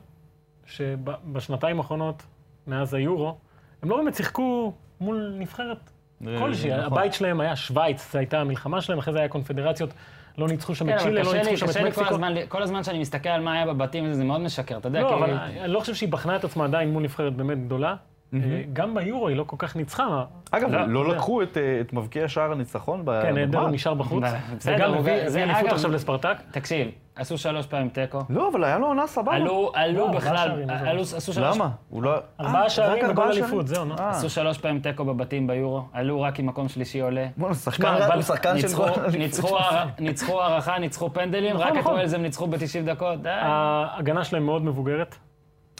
S2: שבשנתיים האחרונות, מאז היורו, הם לא באמת שיחקו מול נבחרת
S1: אה,
S3: זה-
S2: כלשהי.
S3: זה נכון.
S2: הבית שלהם היה שווייץ, זו הייתה המלחמה שלהם, אחרי זה היה קונפדרציות, לא ניצחו שם
S1: כן,
S2: את
S1: אבל
S2: צ'ילה, לא
S1: קשה לי-
S2: ניצחו שם
S1: קשה
S2: את
S1: לי כל
S2: מקסיקו.
S1: הזמן ל- כל הזמן שאני מסתכל על מה היה בבתים, זה מאוד משקר, אתה יודע,
S2: לא,
S1: כאילו...
S2: אבל אני לא חושב שהיא בחנה את עצמה עדיין מול נבחרת באמת גדולה. אה, גם ביורו היא לא כל כך ניצחה.
S3: אגב,
S2: לא,
S3: לא
S2: לא.
S3: לקחו את, אה, את מבקיע שער הניצחון ב-
S2: כן, נהדר
S3: בגמר?
S2: נשאר בחוץ.
S1: בסדר,
S2: וגם
S1: הוא-
S2: הביא
S1: זה-
S2: הביא אליפות
S1: אגב- אה,
S2: עכשיו לספרטק.
S1: תקשיב, עשו שלוש פעמים תיקו.
S3: לא, אבל היה לו עונה סבבה.
S1: עלו, עלו
S2: לא,
S1: בכלל,
S2: שערים, עזוב.
S1: עלו, עשו שלוש...
S3: למה? הוא לא...
S2: ארבעה
S3: אה,
S2: שערים
S3: רק
S2: בגול
S3: ארבעה
S2: אליפות,
S3: שערים?
S2: זהו, נו.
S3: אה.
S1: עשו שלוש פעמים תיקו בבתים ביורו, עלו רק עם מקום שלישי עולה.
S3: בואנה, שחקן,
S2: שמע,
S3: הוא שחקן של...
S1: ניצחו-
S3: גול אליפות.
S1: ניצחו הר- ניצחו הערכה, ניצחו פנדלים,
S2: נכון,
S1: רק את
S2: נכון. אה,
S1: ווילס הם ניצחו ב-90 דקות, די.
S2: ההגנה שלהם מאוד מבוגרת.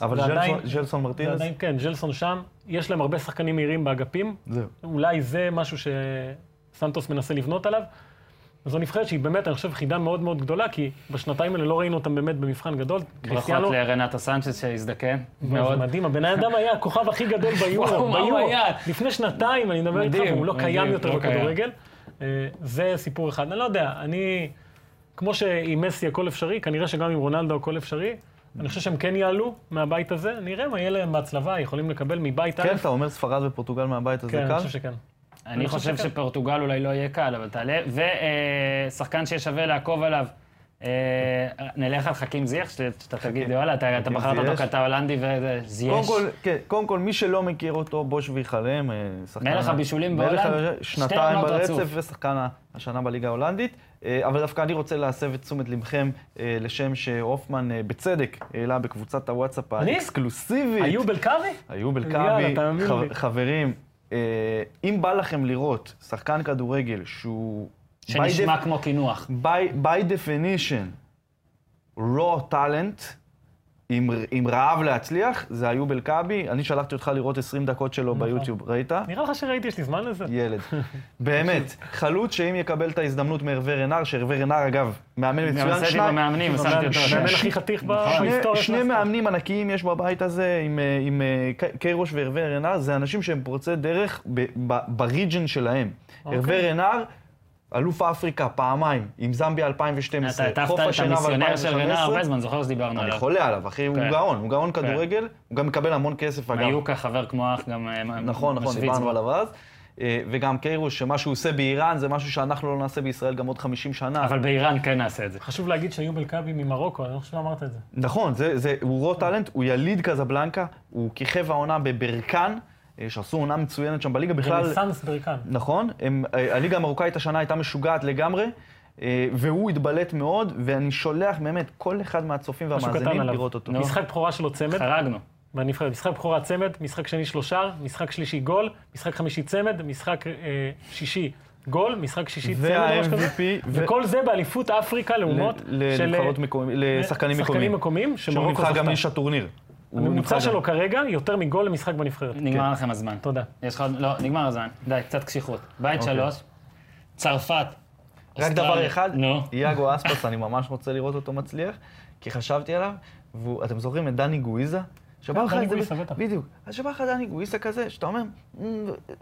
S3: אבל
S2: זה
S3: ז'לסון-
S2: עדיין-
S3: ז'לסון מרטינס?
S2: ועדיין כן, ג'לסון שם, יש להם הרבה שחקנים מהירים באגפים,
S3: זהו.
S2: אולי זה משהו שסנטוס מנסה לבנות עליו. וזו נבחרת שהיא באמת, אני חושב, חידה מאוד מאוד גדולה, כי בשנתיים האלה לא ראינו אותם באמת במבחן גדול.
S1: ברכות לרנטו סנצ'ס שהזדקן,
S2: מאוד.
S1: מאוד.
S2: מדהים, הבן אדם היה הכוכב הכי גדול ביורו,
S1: *laughs* וואו, מה הוא
S2: ביורו.
S1: היה?
S2: לפני שנתיים, אני מדבר איתך,
S1: מדהים,
S2: והוא לא
S1: מדהים,
S2: קיים יותר
S1: לא קיים.
S2: בכדורגל. אה, זה סיפור אחד. אני לא יודע, אני... כמו שעם מסי הכל אפשרי, כנראה שגם עם רונלדו הכל אפשרי. אני חושב שהם כן יעלו מהבית הזה, נראה מה יהיה להם בהצלבה, יכולים לקבל מבית א'.
S3: כן, אתה אומר ספרד ופורטוגל מהבית, אז זה
S2: כן, אני
S3: קל?
S2: חושב שכן.
S1: אני חושב
S2: שכן.
S1: שפורטוגל אולי לא יהיה קל, אבל תעלה. ושחקן שיהיה שווה לעקוב עליו, אה, נלך על חכים זייח, שת- שאתה תגיד, וואלה, אתה אתה בחרת אותו
S3: זייח.
S1: כי אתה הולנדי וזה,
S3: קודם
S1: זייח.
S3: כל, כן, קודם כל, מי שלא מכיר אותו, בוש ויחלם, אה, שחקן...
S1: מלך הבישולים
S3: מלך
S1: בהולנד,
S3: הבישולים,
S1: שתי
S3: שנתיים
S1: עונות
S3: ברצף
S1: רצוף.
S3: ושחקן השנה בליגה ההולנדית. אה, אבל דווקא אני רוצה להסב את תשומת לבכם אה, לשם שהופמן, אה, בצדק, העלה בקבוצת הוואטסאפ
S2: אני?
S3: האקסקלוסיבית.
S2: היו בלקארי?
S3: איוב
S2: יאללה,
S3: אלקאבי,
S2: תאמין
S3: חב-
S2: לי.
S3: חברים, אה, אם בא לכם לראות שחקן כדורגל שהוא...
S1: שנשמע
S3: by def-
S1: כמו קינוח.
S3: by- by definition, raw talent, עם, עם רעב להצליח, זה איוב אלקאבי. אני שלחתי אותך לראות 20 דקות שלו ביוטיוב, ראית?
S2: נראה לך שראיתי, יש לי זמן לזה?
S3: ילד. באמת, חלוץ שאם יקבל את ההזדמנות מהרווה רנר, שהרווה רנר אגב, מאמן
S1: גם
S3: מצוין,
S1: עשיתי
S3: שניים,
S1: במאמנים, שמתי אותו.
S2: המאמן הכי חתיך בהיסטוריה.
S3: נכון. שני,
S2: של
S3: שני
S2: הספורט.
S3: מאמנים ענקיים יש בבית הזה, עם, אה, עם אה, ק- קיירוש והרווה רנר, זה אנשים שהם פורצי דרך ב- ב- בריג'ן שלהם.
S2: אוקיי.
S3: הרווה רנר, אלוף אפריקה פעמיים, עם זמביה 2012,
S1: אתה הטפת
S3: חוף
S1: את
S3: השנהב
S1: המיסיונר של רנר
S3: 2015.
S1: הרבה זמן, זוכר שדיברנו
S3: אני
S1: עליו.
S3: חולה עליו, אחי, הוא
S1: כן.
S3: גאון, הוא גאון
S1: כן.
S3: כדורגל, הוא גם מקבל המון כסף, אגב.
S1: מיוקה, חבר כמו אח, גם אה,
S3: נכון, נכון,
S1: משוויץ
S3: דיברנו
S1: בו.
S3: עליו אז. אה, וגם קיירוש, שמה שהוא עושה באיראן זה משהו שאנחנו לא נעשה בישראל גם עוד 50 שנה.
S1: אבל באיראן כן נעשה את זה.
S2: חשוב להגיד שאיוב אלקאבי ממרוקו, אני לא חושב שאמרת את זה.
S3: נכון, זה, זה, הוא רו טאלנט, הוא יליד קזבלנקה, הוא כיכב העונה בברקן, אה, שעשו עונה מצוינת שם בליגה בכלל.
S2: רנסאנס ברקן.
S3: נכון, הם, אה, הליגה המרוקאית השנה הייתה משוגעת לגמרי, אה, והוא התבלט מאוד, ואני שולח באמת כל אחד מהצופים
S2: משהו
S3: והמאזינים
S2: קטן עליו.
S3: לראות אותו.
S1: נו.
S2: משחק בכורה שלו צמד,
S1: חרגנו.
S2: בנבחרת. משחק בכורה צמד, משחק שני שלושה, משחק שלישי גול, משחק חמישי צמד, משחק אה, שישי גול, משחק שישי צמד או משהו כזה.
S3: וה-MVP, ו-
S2: וכל זה באליפות אפריקה לעומת
S3: ל-
S2: של אה,
S3: לנבחרות מקומי- לשחקנים
S2: שחקנים
S3: מקומיים.
S2: מקומיים
S3: שהוא
S2: שמרוקו
S3: נבחר גם
S2: זכתה.
S3: איש הטורניר. הוא נבחר
S2: הממוצע
S3: גם-
S2: שלו כרגע יותר מגול למשחק בנבחרת.
S3: כן.
S1: נגמר לכם הזמן.
S2: תודה.
S1: יש לך עוד... לא, נגמר הזמן. די, קצת קשיחות. בית שלוש, צרפת.
S3: אוקיי. רק
S1: אוסטרליה.
S3: דבר אחד,
S1: נו.
S3: יאגו אספס, אני ממש רוצה לראות אותו מצליח, כי חשבתי עליו, ואתם זוכרים את דני גואיזה? שבא
S2: כן,
S3: לך
S2: דני
S3: איזה...
S2: גואיזה, בטח.
S3: בדיוק. אז שבא לך דני גואיזה כזה, שאתה אומר, "מ,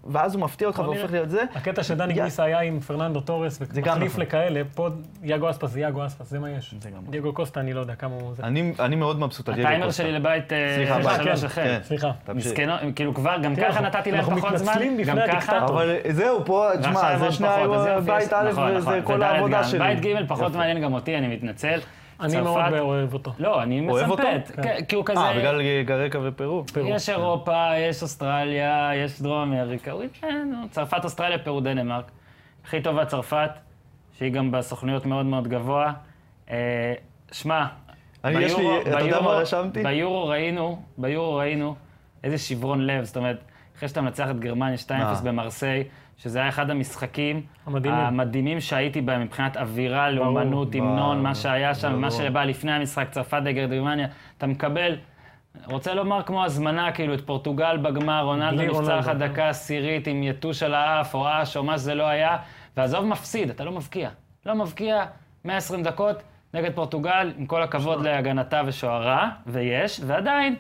S3: ואז הוא מפתיע אותך
S2: בוא
S3: והופך
S2: נראה.
S3: להיות זה.
S2: הקטע שדני
S3: יא-
S2: גריסה היה עם פרננדו תורס,
S3: גם
S2: ומחליף
S3: נכון.
S2: לכאלה, פה יאגו אספס זה יאגו אספס, זה מה יש.
S3: זה גם נכון.
S2: דייגו קוסטה, אני לא יודע כמה הוא... זה.
S3: אני אני מאוד מבסוט על יאגו
S1: הטיימר
S3: קוסטה.
S1: שלי לבית אה,
S3: סליחה,
S1: שלוש,
S2: בית,
S1: שלוש
S2: כן,
S1: החל.
S2: סליחה.
S3: תמשיך.
S1: מסכנו, הם כאילו כבר, גם ככה
S2: אנחנו-
S1: נתתי להם
S2: אנחנו
S1: פחות זמן,
S2: מתנצלים
S1: גם
S2: בפני
S1: ככה.
S2: הדיקטטור.
S3: אבל זהו, פה,
S1: ועכשיו
S3: תשמע,
S1: עוד
S3: זה שני
S1: פחות, אז
S3: היו
S1: יופי,
S3: בית
S1: יש-
S3: א'
S1: נכון,
S3: וזה
S1: נכון,
S3: כל
S1: וד'
S3: העבודה
S1: גם.
S3: שלי.
S1: בית ג' פחות
S3: יפה.
S1: מעניין גם אותי, אני מתנצל.
S2: אני
S1: צרפת-
S2: מאוד אוהב אותו.
S1: לא, אני
S3: אוהב אותו?
S1: מסמפת.
S2: כן.
S1: כן, כי הוא כזה...
S3: אה, בגלל גרקה ופרו.
S1: יש אירופה, יש אוסטרליה, יש דרום אמריקה. הוא התנהל, נו. צרפת, אוסטרליה, פרו, דנמרק. הכי טובה צרפת, שהיא גם בסוכנויות מאוד מאוד גבוה. אה, שמע,
S3: אני- יש לי-
S1: ביורו-
S3: אתה יודע
S1: ביורו-
S3: מה רשמתי?
S1: ביורו ראינו, ביורו ראינו איזה שברון לב, זאת אומרת, אחרי שאתה מנצח את גרמניה 2-0
S3: אה.
S1: במרסיי, שזה היה אחד המשחקים
S2: המדהימים.
S1: המדהימים שהייתי בהם מבחינת אווירה, לאומנות,
S3: ברור.
S1: המנון, מה שהיה שם, מה
S3: ברור.
S1: שבא לפני המשחק, צרפת נגד גרמניה, אתה מקבל רוצה לומר כמו הזמנה, כאילו, את פורטוגל בגמר, רונלדו
S2: בלי
S1: נפצע לך
S2: רונלדו.
S1: דקה עשירית עם יתוש על האף, או אש, או מה שזה לא היה, ועזוב מפסיד, אתה לא מבקיע. לא מבקיע 120 דקות נגד פורטוגל, עם כל הכבוד להגנתה ושוערה, ויש, ועדיין,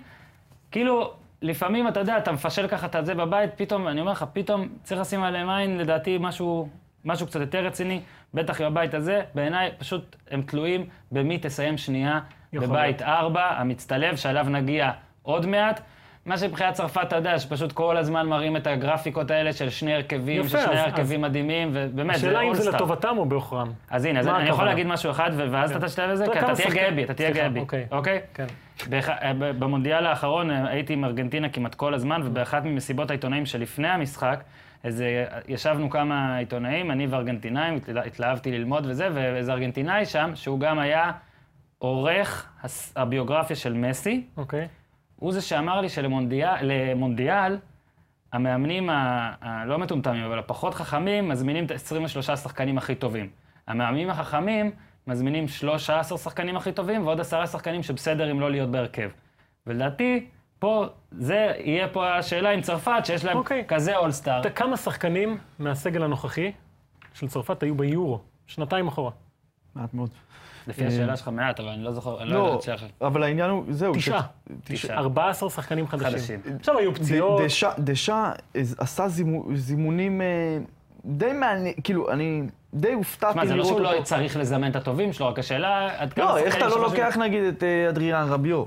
S1: כאילו, לפעמים, אתה יודע, אתה מפשל ככה את זה בבית, פתאום, אני אומר לך, פתאום צריך לשים עליהם עין, לדעתי, משהו, משהו קצת יותר רציני, בטח עם הבית הזה, בעיניי, פשוט הם תלויים במי תסיים שנייה
S2: יכול
S1: בבית ארבע, המצטלב, שעליו נגיע עוד מעט. מה שמבחינת צרפת, אתה יודע, שפשוט כל הזמן מראים את הגרפיקות האלה של שני הרכבים,
S2: יפה,
S1: של שני
S2: אז-
S1: הרכבים מדהימים, ובאמת, זה
S2: השאלה אם זה
S1: אולסטאר.
S2: לטובתם או בעוכרם.
S1: אז הנה, אז
S2: מה
S1: אני יכול
S2: הכוונה?
S1: להגיד משהו אחד, ו- ואז
S2: כן.
S1: אתה תשלב את זה,
S2: אתה
S1: כי
S2: יודע,
S1: אתה
S2: כמה
S1: תהיה
S2: שחקנים-
S1: גאה בי, אתה תהיה
S2: סליחה,
S1: גאה בי,
S2: אוקיי.
S1: אוקיי?
S2: כן.
S1: באח- אה, ב- במונדיאל האחרון אה, הייתי עם ארגנטינה כמעט כל הזמן, ובאחת ממסיבות העיתונאים שלפני המשחק, אז אה, ישבנו כמה עיתונאים, אני וארגנטינאים, התלה- התלהבתי ללמוד וזה, ואיזה ארגנטינאי שם, שהוא גם היה עורך הס- הביוגרפיה של מסי,
S2: אוקיי.
S1: הוא זה שאמר לי שלמונדיאל, למונדיאל, המאמנים ה- הלא מטומטמים, אבל הפחות חכמים, מזמינים את 23 השחקנים הכי טובים. המאמנים החכמים מזמינים 13 שחקנים הכי טובים ועוד עשרה שחקנים שבסדר אם לא להיות בהרכב. ולדעתי, פה, זה יהיה פה השאלה עם צרפת, שיש להם
S2: אוקיי.
S1: כזה אולסטאר.
S2: אתה- כמה שחקנים מהסגל הנוכחי של צרפת היו ביורו? שנתיים אחורה.
S3: מעט מאוד.
S1: לפי
S3: אה,
S1: השאלה שלך מעט, אבל אני לא זוכר, אני לא יודע
S3: לא,
S1: את שאלה.
S3: אבל העניין הוא, זהו.
S2: תשעה.
S1: תשעה.
S2: 14 שחקנים חדשים.
S1: חדשים.
S2: עכשיו היו פציעות.
S3: ד- דשא- דשא אז- עשה זימו- זימונים אה, די מעניין, כאילו, אני די הופתעתי
S1: תשמע, זה לא
S3: לראות
S1: שהוא
S3: אותו.
S1: לא צריך לזמן את הטובים שלו, רק השאלה עד כמה...
S3: כאילו- לא, איך
S1: שחקנים
S3: אתה לא
S1: שחושבים-
S3: לוקח נגיד את אה, אדריאן רביו?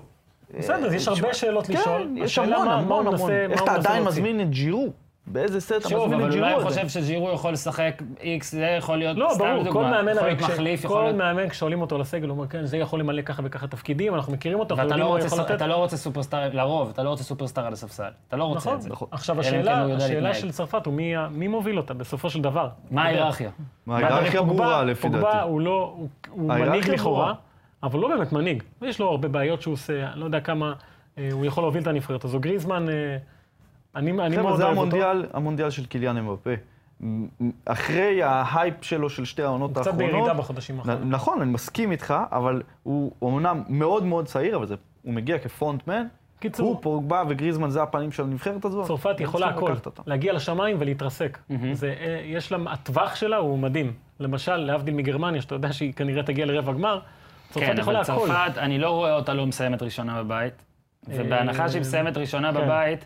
S2: בסדר, אז יש הרבה שאלות לשאול.
S3: כן, יש
S2: השאלה
S3: המון,
S2: מה- מה הוא
S3: המון,
S2: מנסה-
S3: המון.
S2: מה הוא
S3: איך אתה
S2: מנסה
S3: עדיין
S2: להוציא.
S3: מזמין את ג'ירו? באיזה סט אתה
S1: שוב,
S3: מזמין את
S1: אבל
S3: ג'ירו
S1: אולי הוא
S3: הזה?
S1: חושב שג'ירו יכול לשחק איקס, זה יכול להיות
S2: לא,
S1: סתם
S2: ברור, כל
S1: דוגמה.
S2: מאמן
S1: יכול
S2: הרי,
S1: להיות מחליף,
S2: כש-
S1: יכול
S2: כל
S1: להיות...
S2: מאמן כשעולים אותו לסגל, הוא אומר, כן, זה יכול למלא ככה וככה תפקידים, אנחנו מכירים אותו, אנחנו
S1: ואתה
S2: יודעים
S1: לא
S2: מה הוא
S1: רוצה
S2: יכול
S1: ס-
S2: לתת.
S1: אתה לא רוצה סופרסטאר, לרוב, אתה לא רוצה סופרסטאר על הספסל. אתה לא רוצה
S2: נכון,
S1: את זה.
S2: נכון. עכשיו
S1: אלא אם כן הוא
S2: השאלה,
S1: יודע
S2: השאלה
S1: להתנהג.
S2: של צרפת הוא מי ה- מי מוביל אותה בסופו של דבר.
S1: מה
S2: אתה יודע.
S1: ההיררכיה?
S6: מה,
S2: ואתה
S6: ההיררכיה
S2: רואה,
S6: ברורה
S2: פוגבה-
S6: לפי
S2: פוגבה
S6: דעתי.
S2: הוא לא, הוא- הוא
S6: ההיררכיה
S2: מנהיג לכאורה,
S6: ברורה.
S2: אבל הוא לא באמת מנהיג. יש לו הרבה בעיות שהוא עושה, אני לא יודע כמה אה, הוא יכול להוביל את הנבחרת הזו. גריזמן, אה, אני אני
S3: חבר'ה,
S2: מאוד
S3: זה
S2: אוהב אותו.
S3: המונדיאל, המונדיאל של קיליאן אמבפה. מ- מ- אחרי ההייפ שלו של שתי העונות
S2: הוא קצת
S3: האחרונות...
S2: בירידה בחודשים האחרונים.
S3: נ- נכון, אני מסכים איתך, אבל הוא אומנם מאוד מאוד צעיר, אבל זה- הוא מגיע כפרונטמן.
S2: קיצור.
S3: הוא פוגבה וגריזמן זה הפנים של הנבחרת הזו.
S2: צרפת יכולה
S3: צריך
S2: הכל,
S3: לקחת אותה.
S2: להגיע לשמיים ולהתרסק. זה, אה, יש לה, הטווח שלה הוא מדהים. למשל, להבדיל מגרמניה, שאתה יודע שהיא כנראה תגיע לרבע גמר, צרפת
S1: כן,
S2: יכולה
S1: אבל
S2: הכל.
S1: צרפת, אני לא רואה אותה לא מסיימת ראשונה בבית.
S2: אה,
S1: ובהנחה שהיא מסיימת ראשונה
S2: כן.
S1: בבית,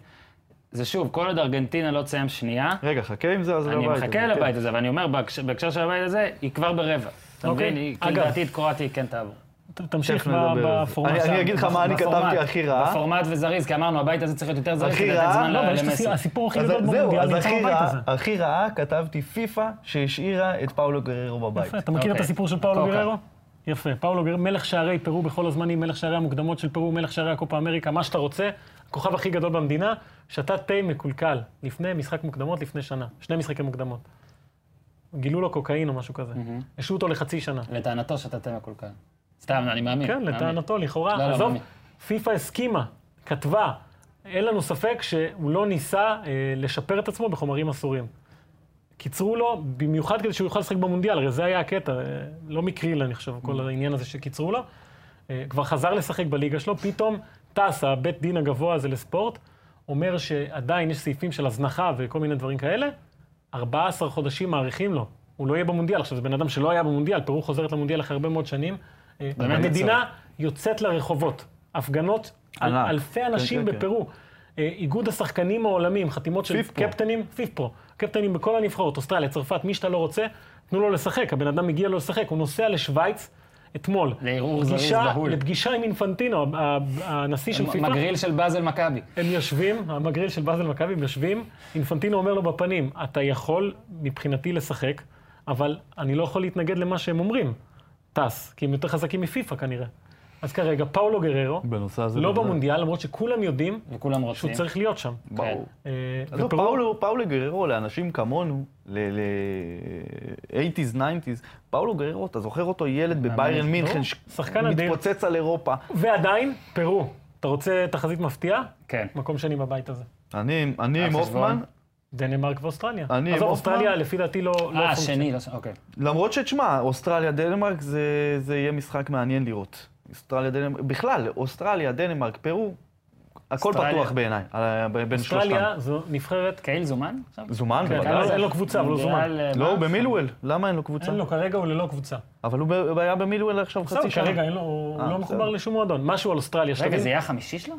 S1: זה שוב, כל עוד ארגנטינה לא תסיים שנייה,
S3: רגע, חכה עם זה,
S2: לא
S3: אז
S1: אני
S3: לבית
S1: מחכה
S3: הזה, כן.
S1: לבית הזה, ואני אומר, בהקשר- בהקשר של הבית הזה, היא כבר ברבע. אתה
S2: אוקיי.
S1: מבין? היא- כאילו,
S2: אגב-
S1: לדעתי את קרואטיה היא כן תעבור.
S2: ת- תמשיך
S3: תכף
S2: ב-
S3: נדבר על זה.
S2: בפורמט.
S3: אני- אני אגיד לך מה אני
S1: בפורמט.
S3: כתבתי הכי רע.
S1: בפורמט וזריז, כי אמרנו, הבית הזה צריך להיות יותר זריז,
S3: הכי
S1: כדי לתת
S3: רע?
S1: זמן
S2: לא, אבל יש את
S1: למסי.
S2: הסי- הסיפור הכי
S3: אז
S2: גדול
S3: זהו,
S2: במונדיאל
S3: אז
S2: נמצא
S3: הכי
S2: בבית
S3: רע,
S2: הזה.
S3: הכי רעה כתבתי פיפא שהשאירה את פאולו גררו בבית.
S2: יפה, אתה מכיר את
S1: אוקיי.
S2: הסיפור של פאולו
S1: קוקה.
S2: גררו? יפה, פאולו גררו, מלך שערי פרו בכל הזמנים, מלך שערי המוקדמות של פרו, מלך שערי הקופה אמריקה, מה שאתה רוצה, הכוכב הכי גדול במדינה, שתה תה מקולקל, לפני משחק מוקדמות, לפני שנה, שני משחקי מוקדמות. גילו לו קוקאין או משהו כזה. השעו אותו לחצי שנה.
S1: לטענתו שתתה מקולקל. סתם, אני מאמין.
S2: כן,
S1: מאמין.
S2: לטענתו,
S1: לא,
S2: לכאורה.
S1: לא,
S2: עזוב,
S1: מאמין.
S2: פיפ"א הסכימה, כתבה, אין לנו ספק שהוא לא ניסה אה, לשפר את עצמו בחומרים אסורים. קיצרו לו, במיוחד כדי שהוא יוכל לשחק במונדיאל, הרי זה היה הקטע, אה, לא מקרי, אני חושב,
S3: Mm.
S2: כל העניין הזה שקיצרו לו. אה, כבר חזר לשחק בליגה שלו, פתאום טס, הבית דין הגבוה הזה לספורט, אומר שעדיין יש סעיפים של הזנחה וכל מיני דברים כאלה, 14 חודשים מאריכים לו. הוא לא יהיה במונדיאל. עכשיו, זה בן אדם שלא היה במונדיאל, פרו חוזרת למונדיאל אחרי הרבה מאוד שנים. אה,
S1: באמת
S2: המדינה יוצאת לרחובות. הפגנות, אל-
S3: ענק.
S2: אלפי
S3: כן,
S2: אנשים
S3: כן, כן.
S2: בפרו. אה, איגוד השחקנים העולמים, חתימות של
S3: פיפרו.
S2: קפטנים, פיפרו, קפטנים בכל הנבחרות, אוסטרליה, צרפת, מי שאתה לא רוצה, תנו לו לשחק, הבן אדם מגיע לו לשחק, הוא נוסע לשוויץ אתמול.
S1: לערעור זריז
S2: פגישה-
S1: בהול.
S2: לפגישה עם אינפנטינו, ה- ה- הנשיא של פיפ"א.
S1: מגריל של באזל מכבי.
S2: הם יושבים, המגריל של באזל מכבי, הם יושבים, אינפנטינו אומר לו בפנים, אתה יכול מבחינתי לשחק, אבל אני לא יכול להתנגד למה שהם אומרים, טס, כי הם יותר חזקים מפיפ"א כנראה. אז כרגע, פאולו גררו,
S3: בנושא הזה...
S2: לא
S3: בוודאי.
S2: במונדיאל, למרות שכולם יודעים
S1: וכולם רוצים.
S2: שהוא צריך להיות שם.
S1: כן.
S3: ברור.
S2: אה,
S3: אז לא,
S2: ופרו-
S3: פאולו, פאולו גררו, לאנשים כמונו, ל-80's, 90's, פאולו גררו, אתה זוכר אותו ילד בביירן מינכן, ש-
S2: שחקן אדיר.
S3: מתפוצץ על אירופה.
S2: ועדיין, פרו, אתה רוצה תחזית מפתיעה?
S1: כן.
S2: מקום שני בבית הזה.
S3: אני אני עם
S1: על חשבון?
S3: הופמן,
S2: דנמרק ואוסטרליה.
S3: אני עם
S2: עזוב,
S3: הופמן.
S2: אוסטרליה לפי דעתי לא... לא
S1: אה,
S2: פונקציה.
S1: שני, לא ש- אוקיי.
S3: למרות שתשמע, אוסטרליה, דנמרק, זה, זה יהיה משחק מעניין לראות. אוסטרליה, דנמרק, בכלל, אוסטרליה, דנמרק, פרו, הכל
S1: אוסטרליה.
S3: פתוח בעיניי, על- בין שלושתם.
S2: אוסטרליה זו נבחרת...
S1: קייל זומן? עכשיו?
S3: זומן,
S2: כן,
S3: בוודאי.
S2: אין לו קבוצה, אבל הוא זומן.
S1: מונדיאל, אה,
S3: לא,
S1: מה?
S3: הוא במילואל, למה אין לו קבוצה?
S2: אין לו, כרגע הוא ללא קבוצה.
S3: אבל הוא ב- היה במילואל עכשיו
S2: בסדר,
S3: חצי שנה.
S2: כרגע אין לו- הוא
S3: אה,
S2: לא
S3: בסדר.
S2: מחובר לשום מועדון. משהו על
S1: רגע,
S2: אוסטרליה, שתבין.
S1: זה יהיה החמישי שלו?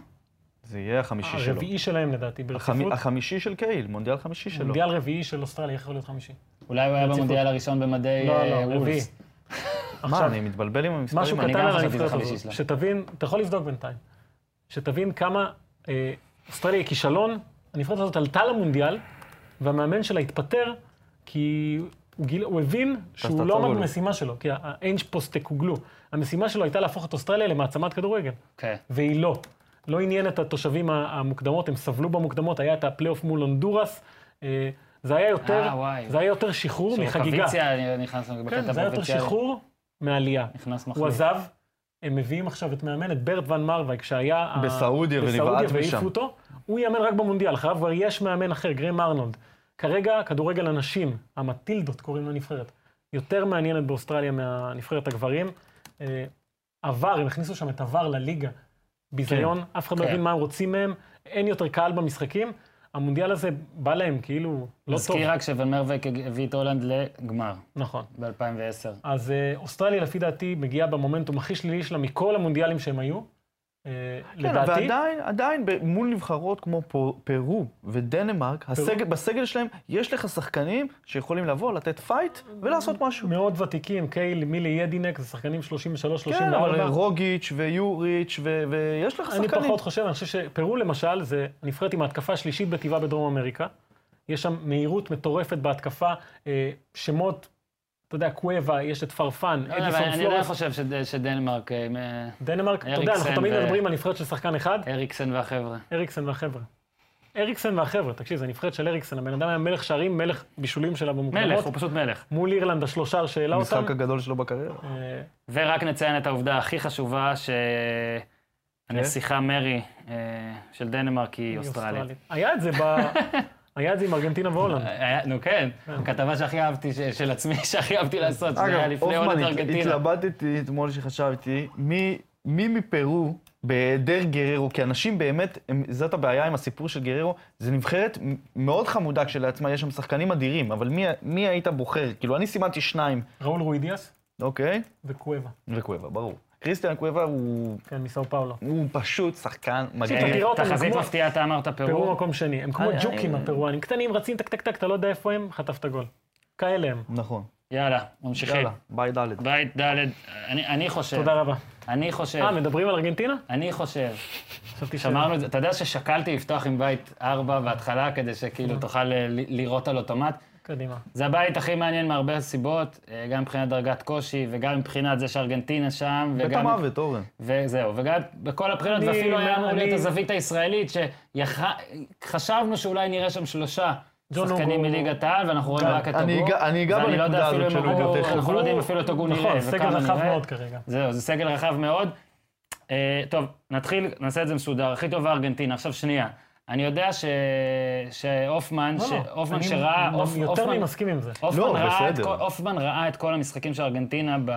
S3: זה יהיה
S2: אה,
S3: החמישי שלו.
S2: הרביעי שלהם לדעתי,
S3: החמי-
S2: ברציפות.
S3: החמישי של קהיל, מונדיאל חמישי שלו.
S2: מונדיאל רביעי של אוסטרליה יכול להיות חמישי.
S1: אולי הוא היה
S2: ברציפות.
S1: במונדיאל הראשון במדי
S2: לא,
S1: אה,
S2: לא, רביעי.
S1: וולס.
S3: מה,
S2: עכשיו,
S3: אני מתבלבל עם המספרים?
S2: משהו
S3: האלה?
S1: אני
S2: קטן
S1: גם
S2: על
S1: חשבתי שזה
S2: הנבחרת
S1: חמישי
S2: הזאת.
S1: שלה.
S2: שתבין, אתה יכול לבדוק בינתיים. שתבין כמה אה, אוסטרליה היא כישלון. הנבחרת הזאת עלתה למונדיאל, והמאמן שלה התפטר, כי הוא, גיל, הוא הבין שהוא לא
S3: תעצור
S2: עמד
S3: גול.
S2: במשימה שלו, כי האינג' פוסטקוגלו. המשימה שלו הייתה להפוך את אוסטרליה למעצמת כדורגל.
S1: כן.
S2: והיא לא. לא עניין את התושבים ה- המוקדמות, הם סבלו במוקדמות, היה את הפלייאוף מול הונדורס. אה, זה היה יותר,
S1: אה, וואי.
S2: זה היה יותר שחרור מחגיגה.
S1: פרובינציה, אני נכנס בקטע
S2: כן, זה היה יותר
S1: פרובינציאלי.
S2: שחרור מעלייה.
S1: נכנס
S2: הוא
S1: מחליף.
S2: עזב, הם מביאים עכשיו את מאמן, את ברט ון מרווייק, שהיה... ה-
S3: בסעודיה,
S2: בסעודיה
S3: ונבעט
S2: והעיפו
S3: משם.
S2: אותו, הוא יאמן רק במונדיאל, אחריו כבר יש מאמן אחר, גרם ארנולד. כרגע כדורגל הנשים, המטילדות קוראים לנבחרת, יותר מעניינת באוסטרליה מהנבחרת הגברים. אה, עבר, הם הכניסו שם את עבר לליגה. ביזיון, אף אחד לא
S1: כן.
S2: הבין מה הם רוצים מהם, אין יותר קהל במשחקים. המונדיאל הזה בא להם כאילו לא טוב.
S1: נזכיר רק שוון מרוויק הביא את הולנד לגמר
S2: נכון.
S1: ב-2010.
S2: אז אה, אוסטרליה לפי דעתי מגיעה במומנטום הכי שלילי שלה מכל המונדיאלים שהם היו. אה,
S3: כן,
S2: לדעתי.
S3: ועדיין, עדיין ב- מול נבחרות כמו פו- פרו ודנמרק, הסגל, בסגל שלהם יש לך שחקנים שיכולים לבוא, לתת פייט ולעשות משהו.
S2: מאוד ותיקים, קייל, מילי ידינק, זה שחקנים 33,
S3: כן, אבל
S2: 34.
S3: רוגיץ' ויוריץ' ו- ויש לך
S2: אני
S3: שחקנים.
S2: פחות חושב, אני חושב שפרו למשל, זה הנבחרת עם ההתקפה השלישית בטבעה בדרום אמריקה. יש שם מהירות מטורפת בהתקפה, אה, שמות, אתה יודע, קוואבה, יש את פרפן,
S1: לא, אבל
S2: אדיסון
S1: אני עדיין
S2: פלורס,
S1: חושב שד- שדנמרק, אה, מ-
S2: דנמרק, אתה יודע,
S1: אריקסן
S2: אנחנו תמיד
S1: ו-
S2: מדברים על נבחרת של שחקן אחד,
S1: אריקסן והחבר'ה.
S2: אריקסן והחבר'ה. אריקסן והחבר'ה, תקשיב, זה נבחרת של אריקסן, הבן אדם היה מלך שערים, מלך בישולים שלה
S1: מלך,
S2: במוקדמות.
S1: הוא פשוט מלך.
S2: מול אירלנד השלושה שהעלה אותם.
S3: המשחק הגדול שלו בקריירה.
S2: אה,
S1: ורק נציין את העובדה הכי חשובה, שהנסיכה מרי אה, של דנמרק כן? היא אוסטרלית.
S2: היה את זה ב...
S1: *laughs*
S2: היה את זה עם ארגנטינה והולנד.
S1: היה- נו כן, הכתבה שהכי אהבתי, ש- של עצמי, *laughs* שהכי אהבתי לעשות, זה היה
S3: אגב,
S1: לפני
S3: הופמן,
S1: עונת
S3: הת-
S1: ארגנטינה.
S3: התלבטתי אתמול שחשבתי, מי מי מפרו בהיעדר גררו, כי אנשים באמת, הם- זאת הבעיה עם הסיפור של גררו, זה נבחרת מ- מאוד חמודה כשלעצמה, יש שם שחקנים אדירים, אבל מי- מי היית בוחר? כאילו, אני סימנתי שניים,
S2: ראול רואידיאס
S3: אוקיי?
S2: וקואבה,
S3: וקויבה, ברור. כריסטיאן קויבה הוא
S2: כן, מסאו פאולו.
S3: הוא פשוט שחקן
S2: אתה
S3: מגניב.
S2: תראה אותם
S1: אה, תחזית
S2: כמו-
S1: מפתיעה, אתה אמרת
S2: פרו
S1: פרו.
S2: מקום שני, הם
S1: אה,
S2: כמו
S3: אני-
S2: ג'וקים
S3: אני-
S2: הפרואנים, קטנים, רצים טק טק טק, אתה לא יודע איפה הם, חטפת גול. כאלה
S1: אה.
S2: הם.
S3: נכון.
S1: יאללה, ממשיכים.
S3: יאללה, ביי ד'.
S1: בית ד', אני אני חושב,
S2: תודה רבה.
S1: אני חושב,
S2: אה, מדברים על ארגנטינה?
S1: אני חושב,
S2: חשבתי
S3: כן.
S2: ש...
S1: שמרנו את זה, אתה יודע ששקלתי לפתוח עם בית 4 בהתחלה, כדי
S3: כן.
S1: שכאילו תוכל אה, ל- לירות על אוטומט.
S2: קדימה.
S1: זה הבית הכי מעניין מהרבה סיבות, אה, גם מבחינת דרגת קושי, וגם מבחינת זה שארגנטינה שם,
S3: בית
S1: וגם...
S3: המוות, אורן.
S1: וזהו, וגם בכל הבחינות,
S2: אני-
S1: ואפילו היה אמור
S2: אני-
S1: להיות הזווית הישראלית, שחשבנו שאולי נראה שם שלושה
S2: ג'ון
S1: שחקנים
S2: הוגו.
S1: מליגת העל, ואנחנו רואים
S2: גם-
S1: רק את
S3: כן, אני
S1: הגו.
S3: אגע- אני אגע
S1: ואני לא יודע
S3: בנקודה
S1: אפילו
S3: הזאת
S1: אם
S3: של
S1: הגו-
S3: הוגו, תכף.
S1: אנחנו לא יודעים אפילו את הגו נראה,
S2: נכון, סגל
S1: וכמה
S2: רחב
S1: נראה.
S2: מאוד כרגע.
S1: זהו, זה סגל רחב מאוד. אה, טוב, נתחיל, נעשה את זה מסודר. הכי טובה ארגנטינה. עכשיו שנייה. אני יודע ש- שהופמן,
S2: לא, לא,
S1: שהופמן
S2: אני
S1: שראה,
S2: מ-
S1: הופ-
S2: יותר
S1: הופמן-
S2: ממסכים עם זה,
S1: הופמן
S3: לא,
S1: ראה את
S3: בסדר.
S1: כל- הופמן ראה את כל המשחקים של ארגנטינה ב...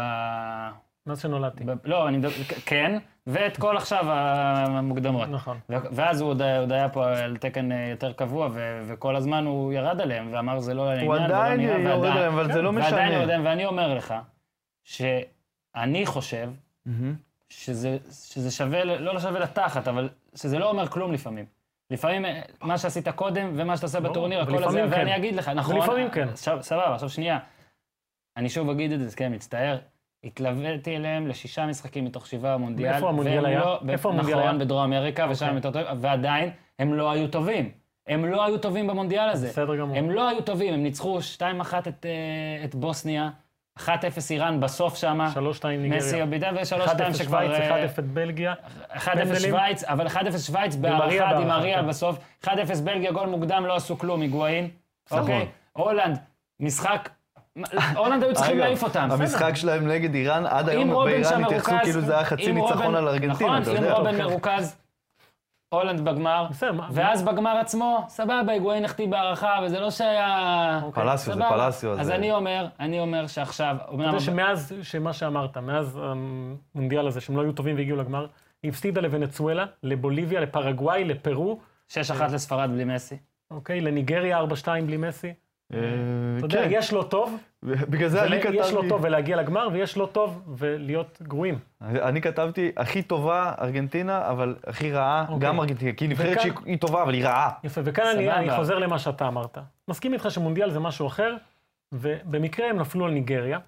S2: מאז שנולדתי.
S1: ב- לא, אני מדבר, כ- כן, ואת כל עכשיו המוקדמות.
S2: נכון.
S1: ו- ואז הוא עוד היה- עוד היה פה על תקן אה, יותר קבוע, ו- וכל הזמן הוא ירד עליהם, ואמר זה לא לעניין,
S3: הוא
S1: ולא
S3: עדיין
S1: נראה",
S3: יורד
S1: ועדיין-
S3: עליהם, אבל זה לא
S1: ועדיין
S3: משנה.
S1: יורד עליהם, ואני אומר לך, שאני חושב
S3: מהמם.
S1: שזה, שזה שווה, ל- לא שווה לתחת, אבל שזה לא אומר כלום לפעמים. לפעמים אה, מה שעשית קודם ומה שאתה עושה בטורניר, הכל הזה,
S2: ולפעמים כן.
S1: ואני אגיד לך, נכון?
S2: ולפעמים כן.
S1: עכשיו, סבבה, עכשיו שנייה. אני שוב אגיד את זה, כן, מצטער. התלוויתי אליהם לשישה משחקים מתוך שבעה במונדיאל.
S2: איפה המונדיאל
S1: והם
S2: היה?
S1: לא- ב-
S2: איפה המונדיאל היה? אוקיי.
S1: נכון, בדרום אמריקה, ושם הם יותר טובים, ועדיין, הם לא היו טובים. הם לא היו טובים במונדיאל הזה.
S2: בסדר גמור.
S1: הם לא היו טובים, הם ניצחו 2-1 את, אה, את בוסניה, 1-0 איראן בסוף שמה.
S2: 3-2
S1: מסי
S2: ניגריה. 1-0
S1: הבידה ו-3-2
S2: שווייץ,
S1: שכבר... אה,
S2: 1-0 בלגיה.
S1: 1-0
S2: פנדלים.
S1: שווייץ, אבל 1-0 שווייץ
S2: מריה
S1: בהערכה,
S2: בהערכה,
S1: דימריה
S2: כן.
S1: בסוף. 1-0 בלגיה, גול מוקדם, לא עשו כלום, היגואין. אוקיי. הולנד, משחק... הולנד היו צריכים
S3: אגב,
S1: להעיף אותם.
S3: המשחק שלהם נגד איראן, עד
S1: אם
S3: היום
S1: רובן שם
S3: באיראן התייחסו
S1: מרוכז...
S3: כאילו זה היה חצי
S1: אם
S3: ניצחון
S1: רובן-
S3: על ארגנטינה, אתה
S1: נכון, אם
S3: יודע. אוקיי.
S1: רובן מרוכז, הולנד בגמר.
S2: בסדר, מה-
S1: ואז בגמר עצמו, סבבה, היגואין החטיא בהערכה, וזה לא שהיה...
S2: אוקיי.
S3: פלסיו, זה
S1: סבבה.
S3: פלסיו,
S1: אז
S3: זה-
S1: אני אומר, אני אומר שעכשיו...
S2: אתה יודע שמאז, שמה שאמרת, מאז המונדיאל הזה, שהם לא היו טובים והגיעו לגמר, היא הפסידה לוונצואלה, לבוליביה, לפרגוואי, לפרו,
S1: 6-1 לספרד בלי מסי.
S2: אוקיי? לניגריה 4-2 בלי מסי.
S3: אה,
S2: אתה יודע,
S3: כן,
S2: יש לא טוב,
S3: בגלל זה אני
S2: ול- יש לא טוב
S3: כתבתי,
S2: ולהגיע לגמר, ויש לא טוב ולהיות גרועים.
S3: אני כתבתי הכי טובה ארגנטינה, אבל הכי רעה
S2: אוקיי.
S3: גם ארגנטינה, כי היא נבחרת
S2: וכאן-
S3: שהיא טובה, אבל היא רעה.
S2: יפה, וכאן אני,
S1: סבבה.
S2: אני חוזר למה שאתה אמרת. מסכים איתך שמונדיאל זה משהו אחר, ובמקרה הם נפלו על ניגריה,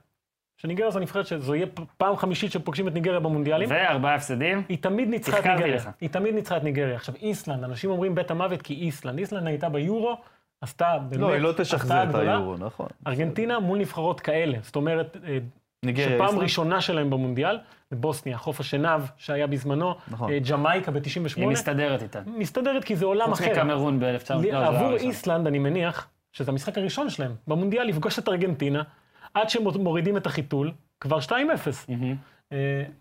S2: שניגריה זו נבחרת שזו יהיה פ- פעם חמישית שפוגשים את ניגריה במונדיאלים.
S1: וארבעה הפסדים.
S2: היא תמיד ניצחה את
S1: תחכמתי
S2: ניגריה.
S1: לך.
S2: היא תמיד ניצחה את ניגריה. עכשיו, איסלנד, אנשים אומרים בית המוות כי איסלנד. איסלנד הייתה ביורו, עשתה באמת...
S3: לא, היא לא
S2: הפתעה
S3: תשחזר את
S2: גדולה.
S3: היורו, נכון.
S2: ארגנטינה מול נבחרות כאלה. זאת אומרת, אה,
S3: ניגריה,
S2: שפעם
S3: איסלנד.
S2: ראשונה שלהם במונדיאל, בוסניה, חוף השנהב שהיה בזמנו,
S3: נכון.
S2: אה, ג'מייקה ב-98.
S1: היא מסתדרת איתן.
S2: מסתדרת כי זה עולם
S1: חוץ
S2: אחר.
S1: מקמרון ב-1900.
S2: לי- עבור איסלנד, אני מניח, שזה המשחק הראשון שלהם במונדיאל, לפגוש את ארגנטינה, עד שהם מורידים את החיתול, כבר 2-0. אה,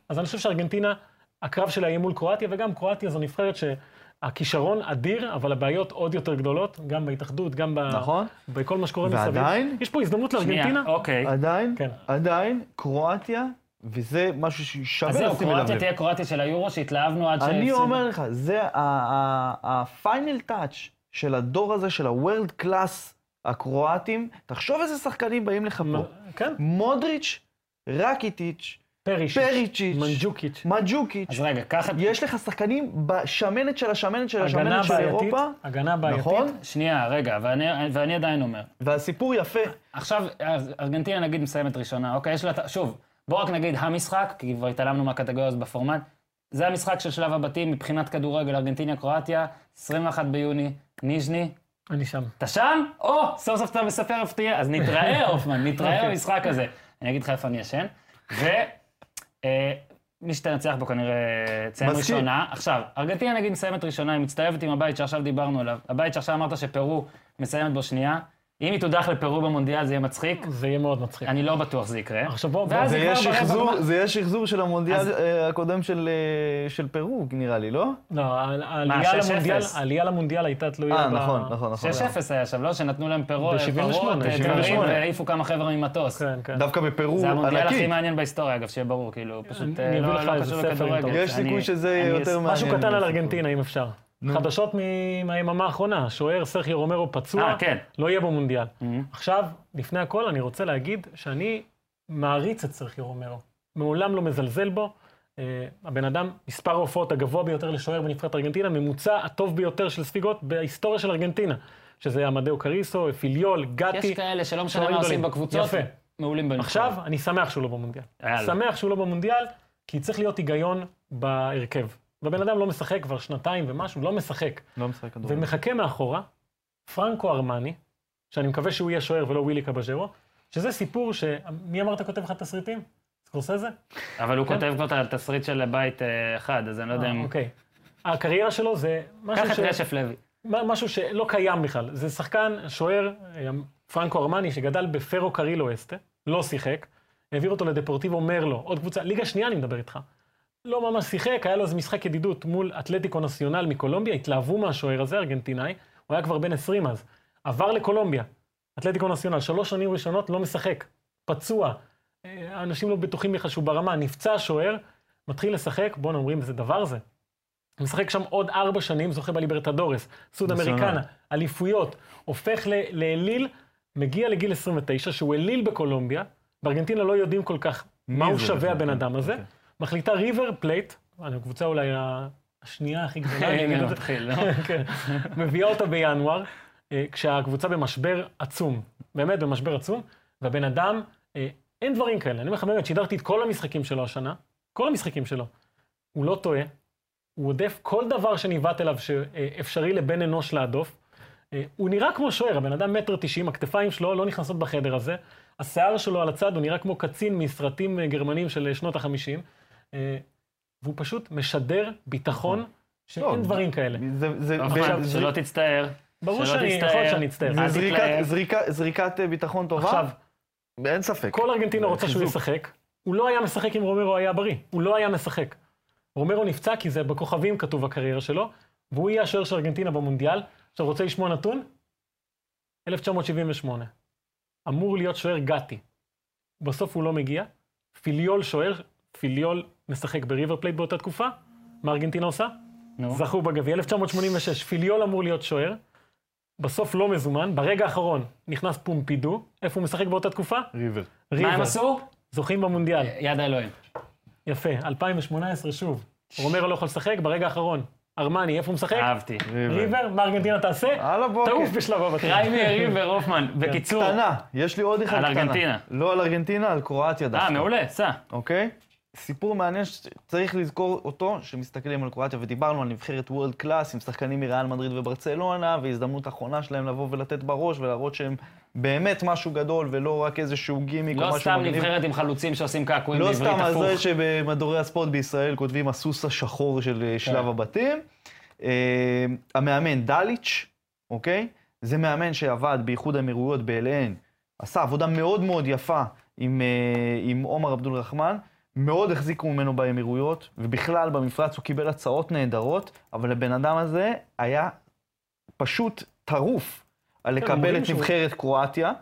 S2: אז אני חושב שארגנטינה, הקרב שלה יהיה מול קרואטיה, וגם קרואטיה זו נבחרת שהכישרון אדיר, אבל הבעיות עוד יותר גדולות, גם בהתאחדות, גם ב...
S3: נכון.
S2: בכל מה שקורה מסביב.
S3: ועדיין,
S2: יש פה הזדמנות לארגנטינה.
S1: ארגנטינה? אוקיי.
S3: עדיין,
S2: כן.
S3: עדיין, קרואטיה, וזה משהו ששווה
S1: אז
S3: לשים אליו
S1: זהו,
S3: לב.
S1: קרואטיה תהיה קרואטיה של היורו שהתלהבנו עד ש...
S3: אני אומר לך, זה ה- ה- ה- ה-final touch של הדור הזה, של הוורלד קלאס הקרואטים. תחשוב איזה שחקנים באים לך פה.
S2: כן,
S3: מודריץ', רקיטיץ',
S2: פרישיץ',
S3: פריצ'יץ',
S2: מנג'וקיץ'.
S3: מג'וקיץ'.
S1: אז רגע, ככה...
S3: יש לך שחקנים בשמנת של השמנת של
S2: הגנה
S3: השמנת של
S2: בעייתית,
S3: אירופה,
S2: הגנה בעייתית.
S3: נכון?
S1: שנייה, רגע, ואני- ואני עדיין אומר.
S3: והסיפור יפה.
S1: עכשיו, אז ארגנטינה נגיד מסיימת ראשונה, אוקיי? יש לה... את- שוב, בואו רק נגיד המשחק, כי כבר התעלמנו מהקטגוריה הזאת בפורמט. זה המשחק של שלב הבתים מבחינת כדורגל, ארגנטינה-קרואטיה, 21 ביוני, ניז'ני.
S2: אני שם.
S1: אתה שם? או, סוף סוף אתה מספר איפה תהיה. אז
S3: *laughs*
S1: נתראה, הופמן,
S3: אוקיי.
S1: נתראה במשחק הזה. אני אגיד לך איפה אני ישן. ו... אה, מי שתנצח בו כנראה תסיים
S3: מסכים.
S1: ראשונה. עכשיו, ארגנטינה נגיד מסיימת ראשונה, היא מצטרפת עם הבית שעכשיו דיברנו עליו. הבית שעכשיו אמרת שפרו מסיימת בו שנייה. אם היא תודח לפרו במונדיאל זה יהיה מצחיק.
S2: זה יהיה מאוד מצחיק.
S1: אני לא בטוח שזה יקרה.
S2: עכשיו בוא, בוא,
S1: ואז
S3: זה
S1: היא
S3: יהיה
S1: כבר ברבע
S3: שחזור-
S1: גמר.
S3: זה יהיה שחזור של המונדיאל
S1: אז-
S3: אה, הקודם של, אה, של פרו, נראה לי, לא?
S2: לא, ה- העלייה
S1: 6-0?
S2: למונדיאל, העלייה למונדיאל הייתה תלויה
S3: אה,
S2: ב-
S3: נכון, נכון, נכון.
S1: 6-0 היה שם, לא? שנתנו להם פירו-
S2: ב-
S1: פירות, אה,
S2: 78.
S1: דברים, והעיפו כמה חבר'ה ממטוס.
S2: כן, כן.
S3: דווקא בפרו
S1: זה המונדיאל הכי
S3: ענקי.
S1: מעניין בהיסטוריה, אגב, שיהיה ברור, כאילו, פשוט
S2: אני
S1: אה,
S2: אביא
S1: לא
S2: לך
S1: לא
S2: איזה
S1: קשור
S2: ספר אם אתה
S1: לכדורגל.
S2: רוצה.
S3: יש סיכוי
S1: אני-
S3: שזה
S1: אני
S3: יהיה יותר
S1: אס-
S3: מעניין.
S2: משהו קטן על
S3: מהסיפור.
S2: ארגנטינה, אם אפשר. חדשות מ- מהיממה האחרונה, שוער סרחיו רומרו פצוע,
S1: אה, כן.
S2: לא יהיה במונדיאל.
S1: מהמם.
S2: עכשיו, לפני הכל, אני רוצה להגיד שאני מעריץ את סרחיו רומרו. מעולם לא מזלזל בו. אה, הבן אדם, מספר ההופעות הגבוה ביותר לשוער בנבחרת ארגנטינה, ממוצע הטוב ביותר של ספיגות בהיסטוריה של ארגנטינה. שזה עמדאו קריסו, פיליול,
S1: יש
S2: גטי.
S1: כאלה שלא משנה
S2: שוערים
S1: מה עושים
S2: גדולים.
S1: בקבוצות,
S2: יפה.
S1: מעולים בנבחרת.
S2: עכשיו, אני שמח שהוא לא במונדיאל.
S1: יאללה.
S2: שמח שהוא לא במונדיאל, כי צריך להיות היגיון בהרכב. והבן אדם לא משחק כבר שנתיים ומשהו, לא משחק.
S3: לא משחק כדורגל.
S2: ומחכה מאחורה, פרנקו ארמני, שאני מקווה שהוא יהיה שוער ולא ווילי קבז'רו, שזה סיפור ש... מי אמרת כותב לך תסריטים? סקורסזה?
S1: אבל הוא כותב כבר את התסריט של בית אה, אחד, אז אני לא יודע
S2: כן? אה,
S1: אם...
S2: אוקיי. הקריירה שלו זה משהו,
S1: קח את
S2: ש... לא,
S1: רשף לוי. לא,
S2: מה- משהו שלא קיים בכלל. זה שחקן, שוער, אה, פרנקו ארמני, שגדל בפרו קרילו אסטה, לא שיחק, העביר אותו לדפורטיבו מרלו, עוד קבוצה, ליגה שנייה אני מדבר איתך. לא ממש שיחק, היה לו איזה משחק ידידות מול אתלטיקו נציונל מקולומביה, התלהבו מהשוער הזה, ארגנטינאי, הוא היה כבר בן 20 אז. עבר לקולומביה, אתלטיקו נציונל, שלוש שנים ראשונות לא משחק, פצוע. אה, האנשים לא בטוחים בכלל שהוא ברמה, נפצע השוער, מתחיל לשחק, בואנה אומרים, איזה דבר זה. הוא משחק שם עוד ארבע שנים, זוכה בליברטדורס, סוד אמריקנה, אליפויות, הופך ל- לאליל, מגיע לגיל 29, שהוא אליל בקולומביה, בארגנטינה לא יודעים כל כך מה הוא
S3: זה
S2: שווה
S3: בכלל?
S2: הבן אדם הזה,
S3: אוקיי.
S2: מחליטה ריבר פלייט, הקבוצה אולי ה- השנייה הכי גדולה, אני אגיד
S1: אה, הנה,
S2: את זה.
S1: מתחיל,
S2: *laughs*
S1: לא?
S2: כן. מביאה אותה בינואר, אה, כשהקבוצה במשבר עצום, באמת במשבר עצום, והבן אדם, אה, אין דברים כאלה. אני אומר לך באמת, שידרתי את כל המשחקים שלו השנה, כל המשחקים שלו. הוא לא טועה, הוא עודף כל דבר שניווט אליו שאפשרי לבן אנוש להדוף. אה, הוא נראה כמו שוער, הבן אדם מטר תשעים, הכתפיים שלו לא נכנסות בחדר הזה, השיער שלו על הצד, הוא נראה כמו קצין מסרטים אה, גרמנים של אה, שנות החמישים, אה, והוא פשוט משדר ביטחון
S3: לא,
S2: שאין דברים כאלה.
S3: זה- זה-
S1: לא,
S3: ב-
S1: אחמד,
S3: זה-
S1: שלא תצטער.
S2: ברור
S1: שלא
S2: שאני,
S1: תצטער.
S2: יכול להיות שאני אצטער.
S1: אל
S3: זה זריקת-
S1: תתלהב.
S3: זריקה- זריקת אה, ביטחון טובה?
S2: עכשיו,
S3: אין ספק.
S2: כל ארגנטינה רוצה שהוא
S3: חיזוק.
S2: ישחק. הוא לא היה משחק אם רומרו היה בריא. הוא לא היה משחק. רומרו נפצע כי זה בכוכבים כתוב הקריירה שלו, והוא יהיה השוער של ארגנטינה במונדיאל. עכשיו, רוצה לשמוע נתון? 1978. אמור להיות שוער גתי. בסוף הוא לא מגיע. פיליול שוער, פיליול משחק בריבר פלייט באותה תקופה. מה ארגנטינה עושה?
S1: נו.
S2: זכו בגביע. 1986, פיליול אמור להיות שוער, בסוף לא מזומן, ברגע האחרון נכנס פומפידו, איפה הוא משחק באותה תקופה?
S3: ריבר.
S1: מה הם
S2: ריבר.
S1: עשו?
S2: זוכים במונדיאל.
S1: יד האלוהים.
S2: יפה, 2018 שוב. רומרו לא יכול לשחק, ברגע האחרון. ארמני, איפה הוא משחק?
S3: אה,
S1: אהבתי.
S2: ריבר, מה ארגנטינה תעשה?
S3: על הבוקר.
S2: תעוף בשלב הבתים.
S1: קריימי יריב והופמן.
S2: כן,
S1: בקיצור,
S3: כן. קטנה, יש לי עוד אחד
S1: על
S3: קטנה.
S1: ארגנטינה.
S3: לא על ארגנטינה, על קרואטיה דווקא.
S1: אה, מעולה, סע.
S3: אוקיי? סיפור מעניין שצריך לזכור אותו, שמסתכלים על קרואטיה, ודיברנו על נבחרת וורלד קלאס עם שחקנים מריאל מדריד וברצלונה, והזדמנות אחרונה שלהם לבוא ולתת בראש ולהראות שהם באמת משהו גדול, ולא רק איזשהו גימיק או
S1: לא
S3: משהו
S1: סתם
S3: מגניב.
S1: נבחרת עם חלוצים שעושים קעקועים
S3: לא
S1: בעברית
S3: סתם הזה
S1: הפוך.
S3: שבמדורי הספורט בישראל כותבים הסוס השחור של
S1: כן.
S3: אה, שלב הבתים. אה, המאמן דליץ', אוקיי? זה מאמן שעבד באיחוד האמירויות באליהן, עשה עבודה מאוד מאוד יפה עם, אה, עם עומר עבדול רחמן. מאוד החזיקו ממנו באמירויות, ובכלל במפרץ הוא קיבל הצעות נהדרות, אבל הבן אדם הזה היה פשוט טרוף על
S2: כן, הם
S3: לקבל
S2: אומרים
S3: את
S1: כן,
S2: שהוא-
S3: נבחרת קרואטיה,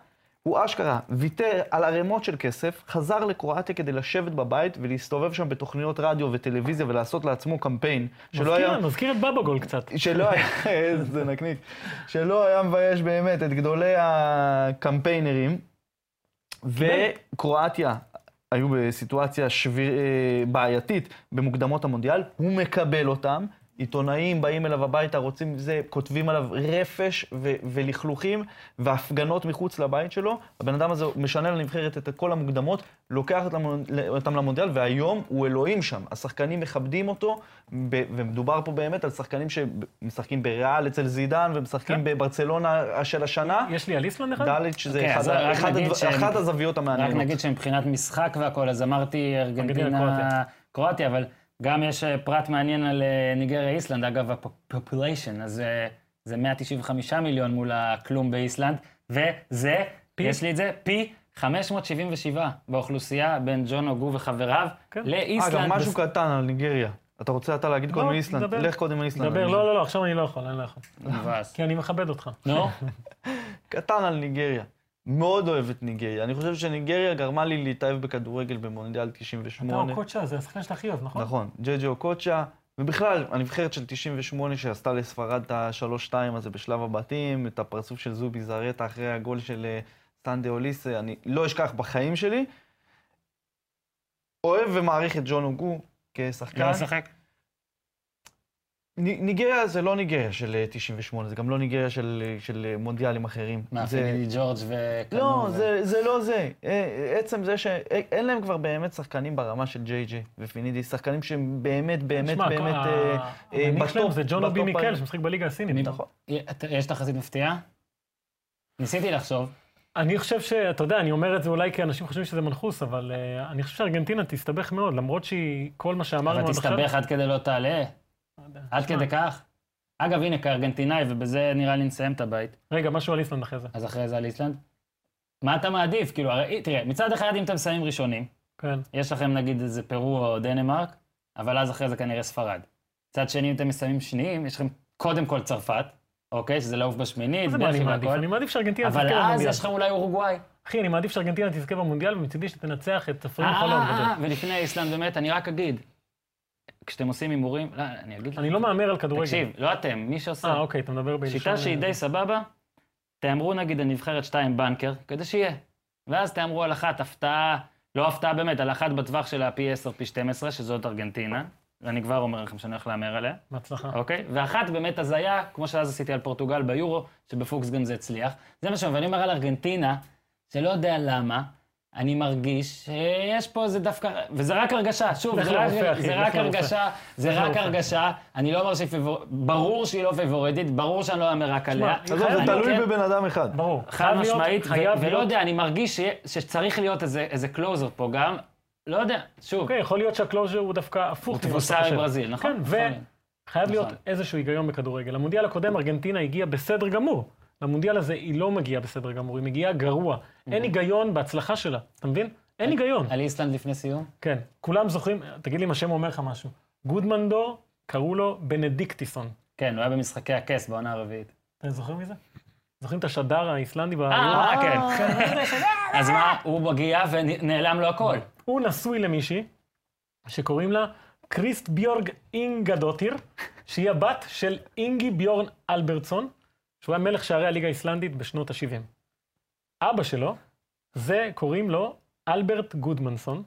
S3: הוא אשכרה ויתר על ערימות של כסף, חזר לקרואטיה כדי לשבת בבית ולהסתובב שם בתוכניות רדיו וטלוויזיה ולעשות לעצמו קמפיין שלא היה...
S2: מזכיר, מזכיר את בבגול קצת.
S3: שלא היה, *laughs* איזה נקניק, שלא היה מבייש באמת את גדולי הקמפיינרים. וקרואטיה היו בסיטואציה שביר, אה, בעייתית במוקדמות המונדיאל, הוא מקבל אותם, עיתונאים באים אליו הביתה, רוצים זה, כותבים עליו רפש ו- ולכלוכים והפגנות מחוץ לבית שלו. הבן אדם הזה משנה לנבחרת את כל המוקדמות, לוקח אותם למונ- אותם למונדיאל, והיום הוא אלוהים שם. השחקנים מכבדים אותו, ב- ומדובר פה באמת על שחקנים שמשחקים בריאל אצל זידן, ומשחקים בברצלונה של השנה.
S2: יש לי על איסלנד אחד?
S3: דליץ' זה
S1: אוקיי,
S3: אחד
S1: אז
S3: ה-
S1: רק
S3: אחד
S1: נגיד
S3: הדבר-
S1: שהם-
S3: אחת הזוויות
S1: רק
S3: המעניינות.
S1: נגיד שמבחינת משחק והכול, אז אמרתי
S2: קרואטיה.
S1: ארגנטינה, קרואטיה, אבל גם יש אה, פרט מעניין על אה, ניגריה איסלנד, אגב, הפופוליישן, אז אה, זה 195 מיליון מול הכלום באיסלנד, וזה,
S2: פי?
S1: יש לי את זה, פי 577 באוכלוסייה בין ג'ון אוגו וחבריו
S2: כן.
S3: אגב,
S1: לאיסלנד.
S3: משהו
S1: בס-
S3: קטן על ניגריה. אתה רוצה אתה להגיד קודם
S2: לא,
S3: על איסלנד?
S2: דבר.
S3: לך קודם על איסלנד.
S2: דבר, לא, לא, לא, עכשיו אני לא יכול, אני לא יכול.
S1: מבאס.
S3: כן.
S2: כי אני מכבד אותך.
S3: *laughs*
S1: נו,
S3: קטן על ניגריה. מאוד אוהב את ניגריה. אני חושב שניגריה גרמה לי להתאהב בכדורגל במונדיאל
S2: אתה
S3: 98.
S2: הקוצ'ה, זה השחקן שאתה הכי אוהב, נכון?
S3: נכון, ג'ג'י אוקוצ'ה. ובכלל, הנבחרת של 98 שעשתה לספרד את ה-3-2 הזה בשלב הבתים, את הפרצוף של זובי זרטה אחרי הגול של אה, סטנדה אוליסה, אני לא אשכח בחיים שלי. אוהב ומעריך את ג'ון אוגו
S1: לא
S3: כשחקן.
S1: משחק.
S3: ני- ניגריה זה לא ניגריה של אה, 98, זה גם לא ניגריה של, אה, של אה, מונדיאלים אחרים.
S1: מה,
S3: זה-
S1: פילידי ג'ורג' וקנו.
S3: לא,
S1: ו-
S3: זה, זה לא זה. אה, עצם זה שאין להם כבר באמת שחקנים ברמה של ג'יי ג'יי ופינידי, שחקנים שהם באמת, באמת,
S2: תשמע, כל
S3: באמת... אה,
S2: ה-
S3: אה,
S2: המנהיג
S3: בטופ-
S2: שלהם זה ג'ון אובי
S3: בטופ ה-
S2: מיקל, שמשחק בליגה הסינית.
S3: נכון.
S1: יש תחזית מפתיעה? ניסיתי לחשוב.
S2: אני חושב שאתה יודע, אני אומר את זה אולי כי אנשים חושבים שזה מנחוס, אבל אה, אני חושב שארגנטינה תסתבך מאוד, למרות שהיא, כל מה שאמרנו
S1: אבל
S2: עד עכשיו...
S1: תסתבך עד כדי לא תעלה. עד
S2: תשמע,
S1: כדי כך? אגב, הנה, כארגנטינאי, ובזה נראה לי נסיים את הבית,
S2: רגע, משהו על איסלנד אחרי זה.
S1: אז אחרי זה על איסלנד. מה אתה מעדיף? כאילו, הרי, תראה, מצד אחד, אם אתם מסיימים ראשונים,
S2: כן.
S1: יש לכם נגיד איזה פרו או דנמרק, אבל אז אחרי זה כנראה ספרד. מצד שני, אם אתם מסיימים שניים, יש לכם קודם כל צרפת, אוקיי? שזה לעוף בשמינית,
S2: אז מה
S1: בכי
S2: אני מעדיף?
S1: והכל.
S2: אני מעדיף שארגנטינה תזכה
S1: אבל אז
S2: במונדיאל.
S1: יש לכם אולי אורוגוואי.
S2: אחי, אני מעדיף שארגנטינה תזכה במונדיאל, ומצידי שתנצח את תפרים
S1: אה,
S2: חלום.
S1: אה,
S2: גדול.
S1: אה, ולפני איסלנד, באמת, אני רק אגיד, כשאתם עושים הימורים, לא, אני אגיד
S2: אני לא מהמר על כדורגל.
S1: תקשיב, לא אתם, מי
S2: אה,
S1: שעושה.
S2: אוקיי, אתה מדבר בלשון...
S1: שיטה שהיא די סבבה, תהמרו נגיד על נבחרת 2 בנקר, כדי שיהיה. ואז תהמרו על אחת הפתעה, לא הפתעה באמת, על אחת בטווח של הפי 10, פי 12, שזאת ארגנטינה, ואני כבר אומר לכם שאני הולך להמר עליה,
S2: בהצלחה.
S1: אוקיי? ואחת באמת הזיה, כמו שאז עשיתי על פורטוגל ביורו, שבפוקס גם זה הצליח. זה מה שאני אומר על ארגנטינה, שלא יודע למה. אני מרגיש שיש פה איזה דווקא, וזה רק הרגשה, שוב,
S2: לך
S1: זה רק,
S2: לרופא, אחי,
S1: זה
S2: לך
S1: רק
S2: לרופא.
S1: הרגשה, זה רק
S2: לרופא.
S1: הרגשה, אני לא אומר שהיא פבור... ברור שהיא לא פבורטית, ברור שאני לא אאמר רק עליה.
S2: תשמע,
S3: עזוב, זה
S1: אני
S3: תלוי
S1: כן-
S3: בבן אדם אחד.
S2: ברור.
S1: חד
S2: חייב להיות-
S1: משמעית, ו-
S2: חייב
S1: ולא
S2: להיות-
S1: יודע, אני מרגיש ש- שצריך להיות איזה איזה קלוזר פה גם, לא יודע, שוב,
S2: אוקיי, יכול להיות שהקלוז'ר הוא דווקא הפוך.
S1: הוא
S2: ממה
S1: תבוסה
S2: שאתה חושב.
S1: מברזיל, נכון?
S2: כן,
S1: נכון.
S2: וחייב להיות
S1: נכון.
S2: איזשהו היגיון בכדורגל. המונדיאל הקודם, ארגנטינה הגיעה בסדר גמור. למונדיאל הזה היא לא מגיעה בסדר גמור, היא מגיעה גרוע.
S1: אוקיי.
S2: אין היגיון בהצלחה שלה, אתה מבין? אין היגיון.
S1: על איסלנד לפני סיום.
S2: כן, כולם זוכרים, תגיד לי אם השם אומר לך משהו. גודמנדור, קראו לו בנדיקטיסון.
S1: כן, הוא היה במשחקי הכס בעונה הרביעית.
S2: אתם זוכרים מי זה? זוכרים את השדר האיסלנדי? ב-
S1: אה, *laughs* כן. אז מה, הוא מגיע ונעלם לו הכל.
S2: הוא נשוי למישהי שקוראים לה קריסט ביורג אינגדוטיר, שהיא הבת של אינגי ביורן אלברטסון, שהוא היה מלך שערי הליגה האיסלנדית בשנות ה-70. אבא שלו, זה קוראים לו אלברט גודמנסון,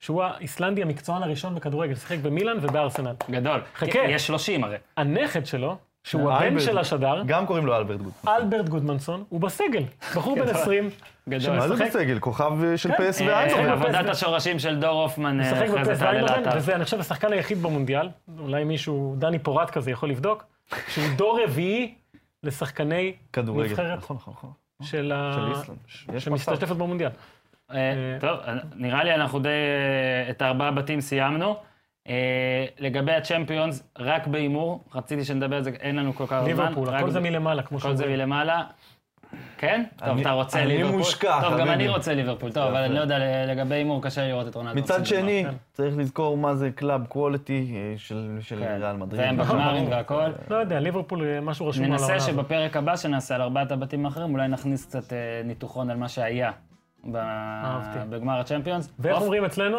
S2: שהוא האיסלנדי המקצוען הראשון בכדורגל, שיחק במילאן ובארסנל.
S1: גדול.
S2: חכה.
S1: יש 30 הרי.
S2: הנכד שלו, שהוא
S3: אלברט.
S2: הבן של השדר,
S3: גם קוראים לו אלברט גוטמן.
S2: אלברט גודמנסון, הוא בסגל, בחור בן 20,
S1: גדול.
S3: מה זה
S2: משחק-
S3: בסגל? כוכב אה,
S2: כן,
S3: של פס
S1: אה,
S3: ואיינדורן.
S1: עבודת השורשים של דור הופמן, אה,
S2: משחק
S1: אחרי זה
S2: בפס
S1: תעלה
S2: ואיינדובן,
S1: לאתר.
S2: וזה, אני חושב, השחקן היחיד במונדיאל, אולי מישהו, דני פורט כזה, יכול
S1: *laughs*
S2: לבדוק, שהוא דור רביעי לשחקני
S3: כדורגל.
S2: נבחרת. אה,
S3: נכון, נכון, נכון.
S2: של ה...
S3: של איסלנד. יש מצב.
S2: שמשתתפת במונדיאל.
S1: אה, טוב, נראה לי אנחנו די... אה, את ארבעה בתים סיימנו. אה, לגבי הצ'מפיונס, רק בהימור, רציתי שנדבר על זה, אין לנו כל כך הרבה זמן.
S2: ליברפול,
S1: רק
S2: הכל זה
S1: ב-
S2: מלמעלה, כמו
S1: כל זה
S2: שאומרים.
S1: מלמעלה. כן? טוב, אתה רוצה
S5: אני
S1: ליברפול?
S5: מושכח,
S1: טוב, גם אני
S5: חביבי.
S1: רוצה ליברפול, טוב, אבל אני לא יודע, ל- לגבי הימור קשה לי לראות את רונלדו.
S5: מצד
S1: עושה דבר.
S5: שני,
S2: כן.
S5: צריך לזכור מה זה קלאב קואליטי
S3: אה,
S5: של של
S1: כן.
S5: ריאל מדריד.
S1: והם
S3: נכון.
S1: בגמרים והכל.
S2: לא יודע, ליברפול, אה, משהו רשום על העונה
S1: ננסה
S2: הזאת.
S1: שבפרק הבא שנעשה על ארבעת הבתים האחרים, אולי נכניס קצת אה, ניתוחון על מה שהיה ב-
S2: אהבתי.
S1: בגמר הצ'מפיונס.
S2: ואיך
S1: אוף,
S2: אומרים אצלנו?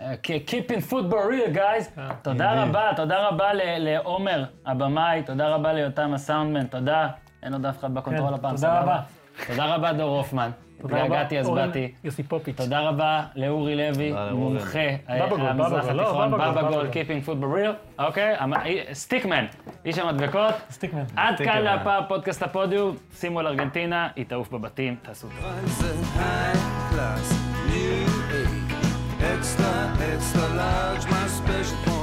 S1: אה, Keep in football real, guys.
S2: אה,
S1: תודה רבה, תודה רבה ל- לעומר הבמאי, תודה רבה ליותם הסאונדמן, תודה. אין עוד אף אחד בקונטרול
S2: כן,
S1: הפעם,
S2: תודה
S1: סבבה?
S2: רבה.
S1: תודה רבה, דור הופמן.
S2: תודה רבה,
S1: התגעגעתי, אז
S2: אורן
S1: באתי.
S2: יוסיפוביץ'.
S1: תודה רבה לאורי לוי,
S5: לאורן.
S1: מומחה אה,
S2: בבגול,
S1: המזרח
S2: בבגול, לא,
S1: התיכון,
S2: בבגול,
S1: בבא גול,
S2: בבגול.
S1: Keeping Football Real, אוקיי? המ- אי- סטיקמן, איש המדבקות.
S2: סטיקמן.
S1: עד כאן
S5: סטיקמן.
S1: להפעם פודקאסט הפודיום, שימו על ארגנטינה, היא תעוף בבתים, תעשו טוב.
S4: Finds a high class, new age. Extra, extra large, my special one.